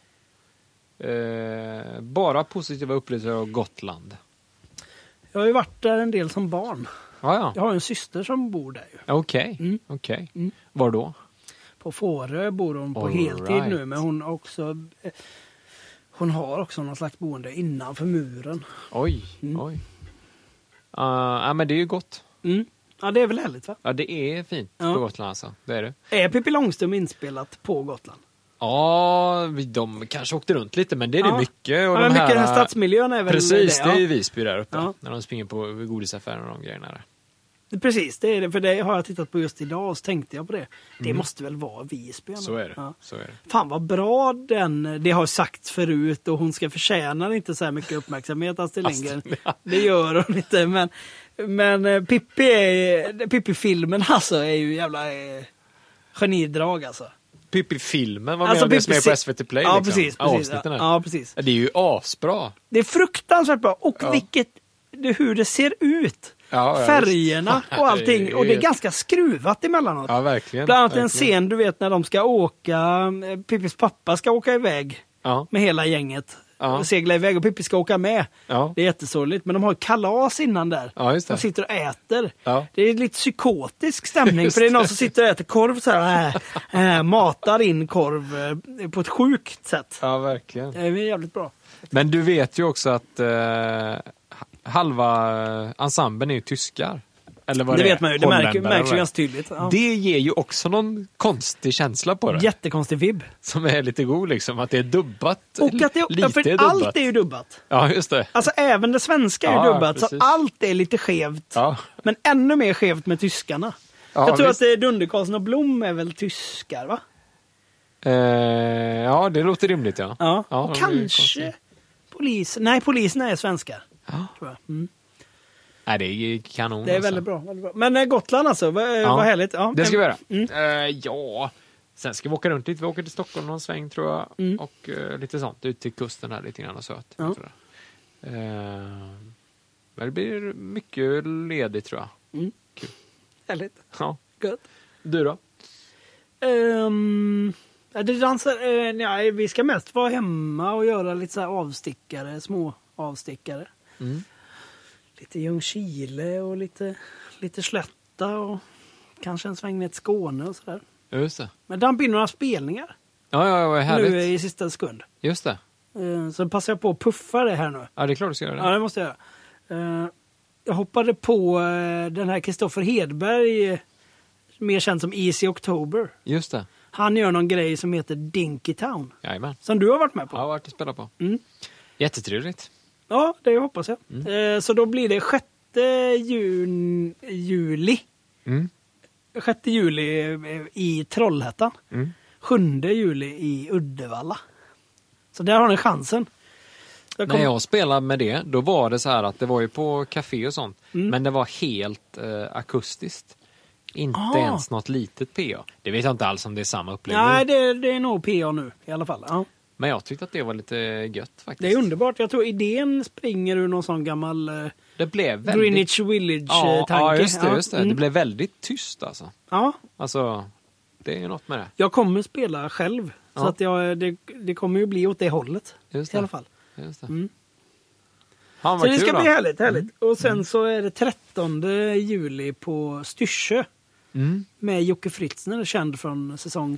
S1: Eh, bara positiva upplevelser av Gotland.
S2: Jag har ju varit där en del som barn.
S1: Ja,
S2: Jag
S1: ja.
S2: har ju en syster som bor där ju.
S1: Okej.
S2: Mm.
S1: okej.
S2: Mm.
S1: Var då?
S2: På Fårö bor hon på
S1: All
S2: heltid
S1: right.
S2: nu men hon har också... eh, Hon har också någon slags boende innanför muren.
S1: Oj, oj. Eh, ja, men det är ju gott.
S2: Mm. Ja, det är väl härligt va?
S1: Ja, det är fint
S2: Ja.
S1: på Gotland alltså. Det är det.
S2: Är Pippi Långstrump inspelat på Gotland?
S1: Ja, vi- de kanske åkte runt lite, men det är det
S2: Ja.
S1: mycket.
S2: Ja,
S1: Och
S2: men
S1: de
S2: mycket
S1: här,
S2: den här stadsmiljön är väl
S1: Precis,
S2: det?
S1: det är ju
S2: ja.
S1: Visby där uppe.
S2: Ja.
S1: När de springer på godisaffären och de grejerna där.
S2: Precis, det är det. För det har jag tittat på just idag och så tänkte jag på det. Det måste väl vara Visby? ändå.
S1: Mm. Så är det.
S2: Ja.
S1: Så är det.
S2: Fan vad bra den, det har sagts förut och hon ska förtjäna inte så här mycket uppmärksamhet Astrid Lindgren. Det gör hon inte men, men eh, Pippi, är- Pippi-filmen alltså är ju jävla eh, genidrag alltså.
S1: Pippi-filmen, vad
S2: alltså
S1: menar du? Det som är på
S2: Pippi-
S1: SVT Play?
S2: Ja
S1: liksom.
S2: precis. precis
S1: Avsnitten
S2: ja,
S1: här.
S2: ja, precis.
S1: Det är ju asbra.
S2: Det är fruktansvärt bra och
S1: Ja.
S2: vilket, det, hur det ser ut.
S1: Ja, ja,
S2: Färgerna
S1: visst.
S2: och
S1: Det
S2: allting
S1: är
S2: och det är
S1: ju-
S2: ganska skruvat emellanåt.
S1: Ja, verkligen.
S2: Bland annat en
S1: verkligen.
S2: scen du vet när de ska åka, eh, Pippis pappa ska åka iväg
S1: Ja.
S2: med hela gänget.
S1: Ja.
S2: Och segla iväg och Pippi ska åka med.
S1: Ja.
S2: Det är jättesorgligt men de har kalas innan där.
S1: Ja, just det.
S2: De sitter och äter.
S1: Ja.
S2: Det är lite psykotisk stämning för det är någon som sitter och äter korv så här, äh, äh, matar in korv eh, på ett sjukt sätt.
S1: ja, verkligen.
S2: Det är jävligt bra.
S1: Men du vet ju också att eh, halva ensemblen är ju tyskar. Eller vad
S2: det
S1: det,
S2: vet
S1: är,
S2: man ju, det märker,
S1: holländare,
S2: märks ju
S1: eller?
S2: ganska tydligt. Ja.
S1: Det ger ju också någon konstig känsla på det.
S2: Jättekonstig vibb.
S1: Som är lite god liksom, att det är dubbat.
S2: Och att det,
S1: lite
S2: för
S1: dubbat.
S2: allt är ju dubbat.
S1: Ja, just det.
S2: Alltså även det svenska är ju
S1: Ja,
S2: dubbat så
S1: precis.
S2: allt är lite skevt.
S1: Ja.
S2: Men ännu mer skevt med tyskarna.
S1: Ja,
S2: jag tror
S1: visst.
S2: att det är Dunderkarlsson och Blom är väl tyskar va?
S1: Eh, ja, det låter rimligt ja.
S2: Ja. och
S1: det blir konstigt.
S2: kanske polisen. Nej, poliserna är svenskar.
S1: Ja.
S2: Tror jag. Mm.
S1: Nej, det är ju kanon.
S2: Det är
S1: alltså.
S2: väldigt bra, väldigt bra. Men eh, Gotland alltså, vad,
S1: Ja.
S2: vad härligt. Ja,
S1: Det ska vi göra.
S2: Mm.
S1: Eh, ja, sen ska vi åka runt lite. Vi åker till Stockholm någon sväng tror jag. Och eh, lite sånt. Ut till kusten här lite grann och så. att-
S2: Mm. Ja.
S1: sådär. Eh, men det blir mycket ledigt tror jag.
S2: Mm.
S1: Kul.
S2: Härligt.
S1: Ja.
S2: Gött.
S1: Du då?
S2: Ehm, ja, det dansar, eh, nej, vi ska mest vara hemma och göra lite så här avstickare, små avstickare.
S1: Mm.
S2: Lite Ljungskile och lite, lite Slätta och kanske en sväng ner till Skåne och sådär.
S1: Just det.
S2: Men damp in några spelningar
S1: Ja, ja, vad härligt.
S2: nu i sista sekund.
S1: Just det.
S2: Eh, Så passar jag på att puffa det här nu.
S1: Ja, det är klart du ska göra det.
S2: Ja, det måste jag göra. Eh, Jag hoppade på eh, den här Kristoffer Hedberg, eh, mer känd som Easy October.
S1: Just det.
S2: Han gör någon grej som heter Dinky Town.
S1: Jajamän.
S2: Som du har varit med
S1: Ja, jag har
S2: på.
S1: varit och spelat på.
S2: Mm.
S1: Jättetrevligt.
S2: Ja, det hoppas jag. Eh, Så då blir det 6 jun, juli.
S1: Mm.
S2: 6 juli eh, i Trollhättan.
S1: Mm.
S2: 7 juli i Uddevalla. Så där har ni chansen. Jag
S1: När
S2: kommer-
S1: jag spelade med det, då var det så här att det var ju på café och sånt,
S2: Mm.
S1: men det var helt eh, akustiskt. Inte
S2: Ah.
S1: ens något litet PA. Det vet jag inte alls om det är samma
S2: Nej,
S1: upplevelse.
S2: det, det är nog PA nu i alla fall. Ja.
S1: Men jag tyckte att det var lite gött faktiskt.
S2: Det är underbart. Jag tror idén springer ur någon sån gammal eh,
S1: Det blev väldigt...
S2: Greenwich eh, Village-tanke.
S1: ja, ja, just det. Just det.
S2: Mm.
S1: det blev väldigt tyst alltså.
S2: ja,
S1: Alltså, det är ju något med det.
S2: jag kommer spela själv. Så
S1: Ja.
S2: att jag, eh, det, det kommer ju bli åt det hållet.
S1: Just
S2: I
S1: det.
S2: alla fall.
S1: Just det.
S2: Mm.
S1: Han
S2: Så
S1: var
S2: det
S1: kul
S2: ska
S1: då. Mm.
S2: bli härligt. härligt. Och sen så är det 13 juli på Styrsö
S1: Mm.
S2: med Jocke Fritzner, känd från säsong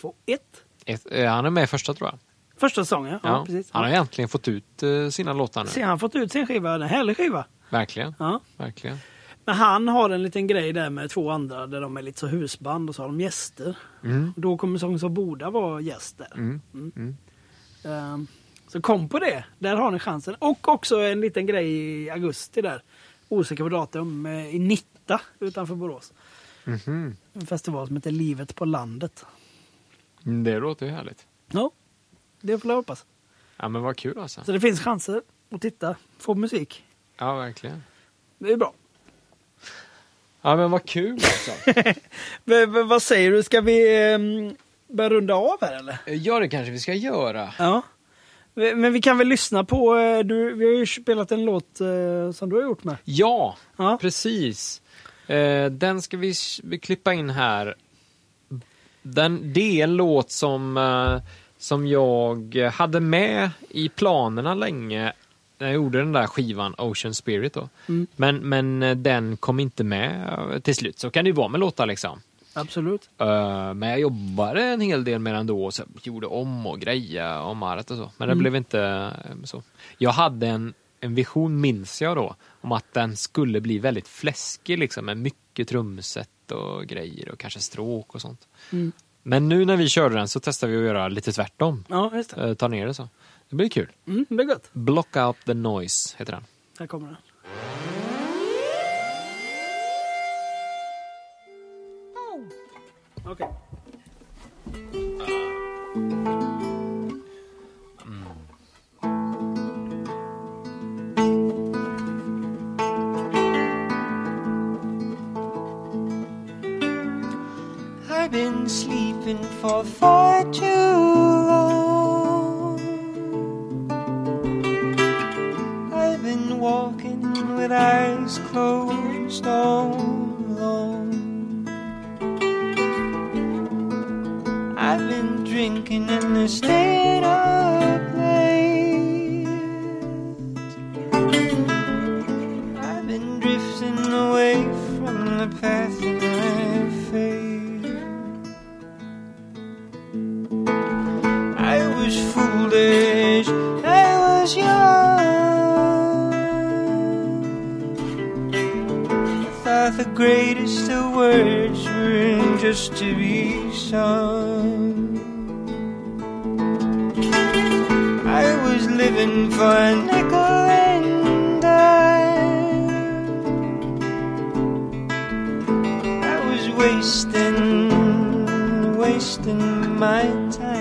S2: 2-1.
S1: Ett, eh, han är med i första tror jag.
S2: Första säsongen, ja, precis.
S1: Han har ju äntligen fått ut eh, sina låtar nu.
S2: Se, han har fått ut sin skiva, en härlig skiva.
S1: Verkligen.
S2: Ja.
S1: Verkligen.
S2: Men han har en liten grej där med två andra där de är lite så husband och så har de gäster.
S1: Mm.
S2: Då kommer Sångs av Boda vara gäst där.
S1: Mm.
S2: Ehm, Så kom på det, där har ni chansen. Och också en liten grej i augusti där. Osäker på datum eh, i Nitta utanför Borås.
S1: Mhm.
S2: En festival som heter Livet på landet.
S1: Mm, Det låter ju härligt.
S2: Ja, det får jag hoppas.
S1: Ja men vad kul alltså.
S2: Så det finns chanser att titta, få musik.
S1: Ja verkligen.
S2: Det är bra.
S1: Ja men vad kul alltså.
S2: V- v- vad säger du, ska vi ehm, börja runda av här eller?
S1: ja det kanske vi ska göra.
S2: Ja. V- Men vi kan väl lyssna på, eh, du, vi har ju spelat en låt eh, som du har gjort med.
S1: Ja,
S2: Ja.
S1: precis. Eh, den ska vi s- vi klippa in här. Den, det är en låt som, eh, som jag hade med i planerna länge när jag gjorde den där skivan Ocean Spirit. Då.
S2: Mm.
S1: Men, men eh, den kom inte med eh, till slut. Så kan det ju vara med låtar liksom.
S2: Absolut.
S1: Eh, men jag jobbade en hel del med den då och så gjorde om och greja om arret och så. Men det
S2: Mm.
S1: blev inte eh, så. Jag hade en, en vision, minns jag då, om att den skulle bli väldigt fläskig liksom med mycket trumset och grejer och kanske stråk och sånt.
S2: Mm.
S1: Men nu när vi körde den så testade vi att göra lite tvärtom.
S2: Ja, just det.
S1: Eh, ta ner det så. Det blir kul.
S2: Mm, det är gött.
S1: Block out the noise heter den.
S2: Här kommer den. Okej.
S4: I've been sleeping for far too long. I've been walking with eyes closed all along. I've been drinking and I stayed up late. I've been drifting away from the path of my faith. I was foolish, I was young. I thought the greatest of words were just to be sung. I was living for a nickel and dime. I was wasting, wasting my time.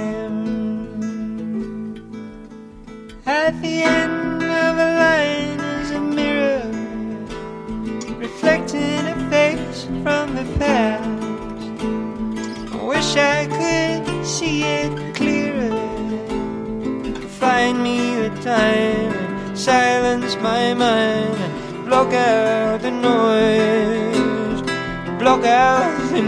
S4: At the end of a line is a mirror reflecting a face from the past. I wish I could see it clearer find me the time, silence my mind, block out the noise, block out the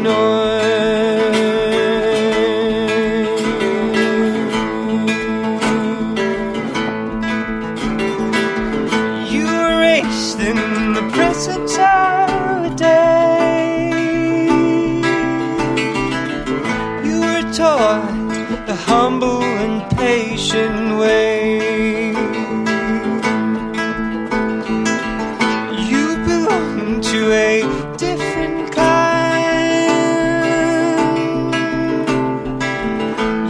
S4: noise. You erase in the presence of a day. You were taught the humble and patient way. You belong to a different kind.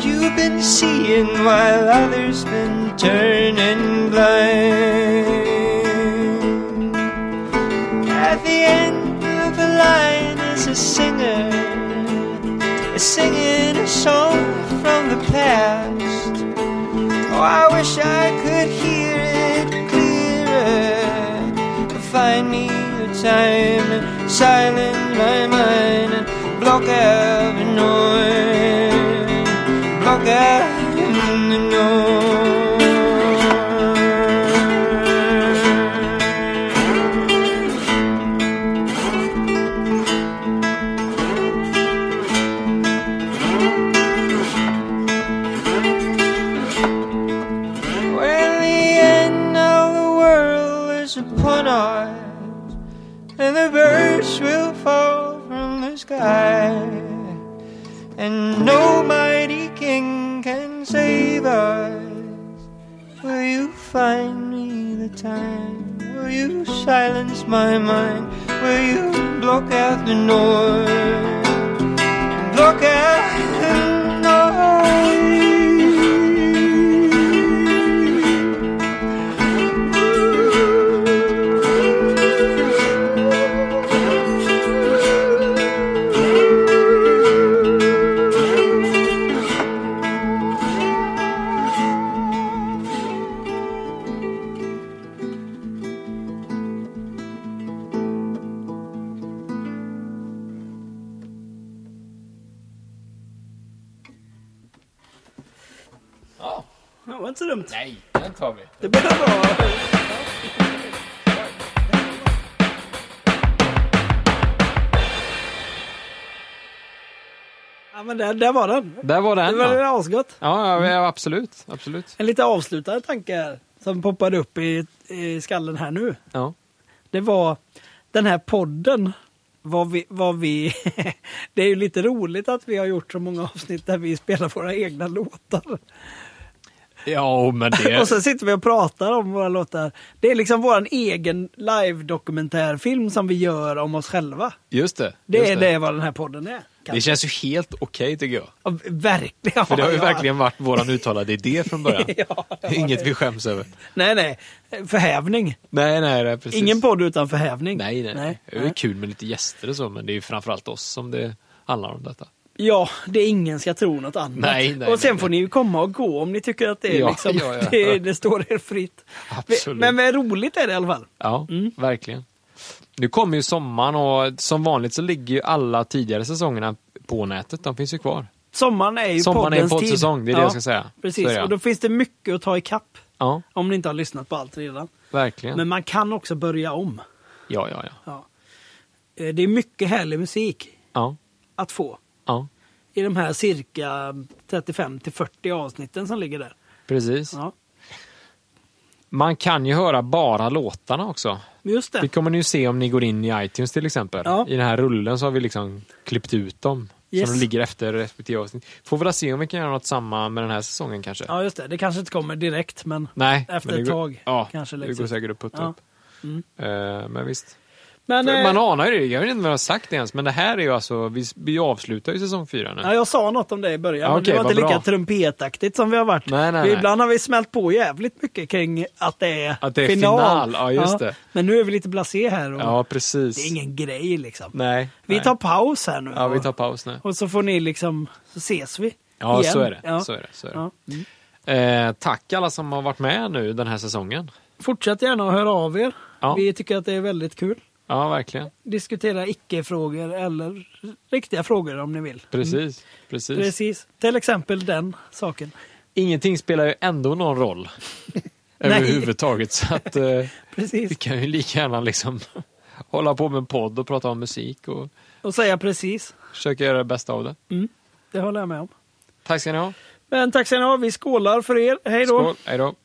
S4: You've been seeing while others been turning blind. At the end of the line is a singer singing a song from the past. Oh, I wish I could hear it clearer. Find me a time, silence my mind, and block out the noise, block out the noise. upon us, and the birds will fall from the sky, and no mighty king can save us. Will you find me the time? Will you silence my mind? Will you block out the noise? Block out the noise.
S2: Det var inte så dumt.
S1: Nej, den tar vi.
S2: Det blir bra. Ja, men där, där var den.
S1: Där var
S2: Det
S1: den
S2: var
S1: då.
S2: det asgott.
S1: Ja, ja, ja, absolut. Absolut.
S2: En lite avslutande tanke här, som poppade upp i, i skallen här nu.
S1: Ja.
S2: Det var den här podden. Vad vi, vad vi det är ju lite roligt att vi har gjort så många avsnitt där vi spelar våra egna låtar.
S1: Ja, men
S2: Och
S1: det...
S2: så sitter vi och pratar om våra låtar. Det är liksom vår egen live-dokumentärfilm som vi gör om oss själva.
S1: Just det.
S2: Det
S1: just
S2: är det. vad den här podden är.
S1: Det känns ju helt okej tycker jag.
S2: Ja, verkligen.
S1: För det har ju
S2: Ja.
S1: verkligen varit våran uttalade idé från början.
S2: Ja, det var
S1: Inget
S2: det.
S1: vi skäms över.
S2: Nej, nej. Förhävning.
S1: Nej, nej, nej precis.
S2: Ingen podd utan förhävning.
S1: Nej, nej, nej. Det är ju
S2: nej.
S1: kul med lite gäster och så, men det är ju framförallt oss som det handlar om detta.
S2: Ja, det är ingen ska tro något annat.
S1: Nej, nej,
S2: och sen
S1: nej.
S2: får ni ju komma och gå om ni tycker att det är
S1: Ja,
S2: liksom,
S1: ja, ja.
S2: Det, det står er fritt.
S1: Absolut.
S2: Men, Mm. men roligt är det i alla fall.
S1: Ja, verkligen. Nu kommer ju sommaren och som vanligt så ligger ju alla tidigare säsongerna på nätet. De finns ju kvar.
S2: Sommaren är ju
S1: Sommaren är en
S2: poddens
S1: poddsäsong,
S2: tid.
S1: det är det
S2: Ja,
S1: jag ska säga. Så är
S2: Precis,
S1: det.
S2: och då finns det mycket att ta ikapp
S1: Ja,
S2: om ni inte har lyssnat på allt redan.
S1: verkligen.
S2: Men man kan också börja om.
S1: Ja, ja, ja.
S2: Ja. Eh, Det är mycket härlig musik
S1: Ja,
S2: att få
S1: ja.
S2: i de här cirka 35 till 40 avsnitten som ligger där.
S1: Precis.
S2: Ja,
S1: Man kan ju höra bara låtarna också.
S2: just
S1: Det
S2: det.
S1: kommer ni ju se om ni går in i iTunes till exempel.
S2: Ja.
S1: I den här rullen så har vi liksom klippt ut dem.
S2: Yes.
S1: Så de ligger efter respektive avsnitt. Får väl se om vi kan göra något samma med den här säsongen kanske.
S2: Ja, just det. Det kanske inte kommer direkt, men
S1: Nej,
S2: Efter
S1: men det
S2: ett
S1: går-
S2: tag
S1: ja,
S2: kanske
S1: Det
S2: läggs
S1: går
S2: ut.
S1: säkert att putta
S2: Ja. Mm.
S1: upp. Eh, men visst.
S2: Men, eh,
S1: Man anar ju det. Jag vet inte vad jag har sagt ens, men det här är ju alltså, vi, vi avslutar ju säsong fyra nu.
S2: Ja, jag sa något om det i början,
S1: Ja,
S2: men
S1: okej,
S2: det var
S1: vad
S2: inte lika
S1: bra.
S2: trumpetaktigt som vi har varit.
S1: Nej, nej,
S2: vi,
S1: nej.
S2: ibland har vi smält på jävligt mycket kring att det är,
S1: Att det är final, ja, just det.
S2: Men nu är vi lite blasé här och
S1: Ja, precis.
S2: det är ingen grej liksom.
S1: Nej.
S2: Vi
S1: nej.
S2: tar paus här nu.
S1: Ja, vi tar
S2: och-
S1: paus nu.
S2: Och så får ni liksom, så ses vi.
S1: Ja,
S2: igen.
S1: så är det.
S2: Ja.
S1: Så är det, så är det.
S2: Ja. Mm.
S1: Eh, tack alla som har varit med nu den här säsongen.
S2: Fortsätt gärna att höra av er.
S1: Ja.
S2: Vi tycker att det är väldigt kul.
S1: Ja, verkligen.
S2: Diskutera icke-frågor eller riktiga frågor om ni vill.
S1: Precis.
S2: Mm.
S1: Precis.
S2: Precis. Till exempel den saken.
S1: Ingenting spelar ju ändå någon roll. Överhuvudtaget. Så att, eh,
S2: Precis.
S1: vi kan ju lika gärna liksom hålla på med en podd och prata om musik och
S2: Och säga precis.
S1: försöka göra det bästa av det.
S2: Det håller jag med om.
S1: Tack ska ni ha.
S2: Men tack ska ni ha. Vi skålar för er. Hej då!
S1: Skål. Hej då.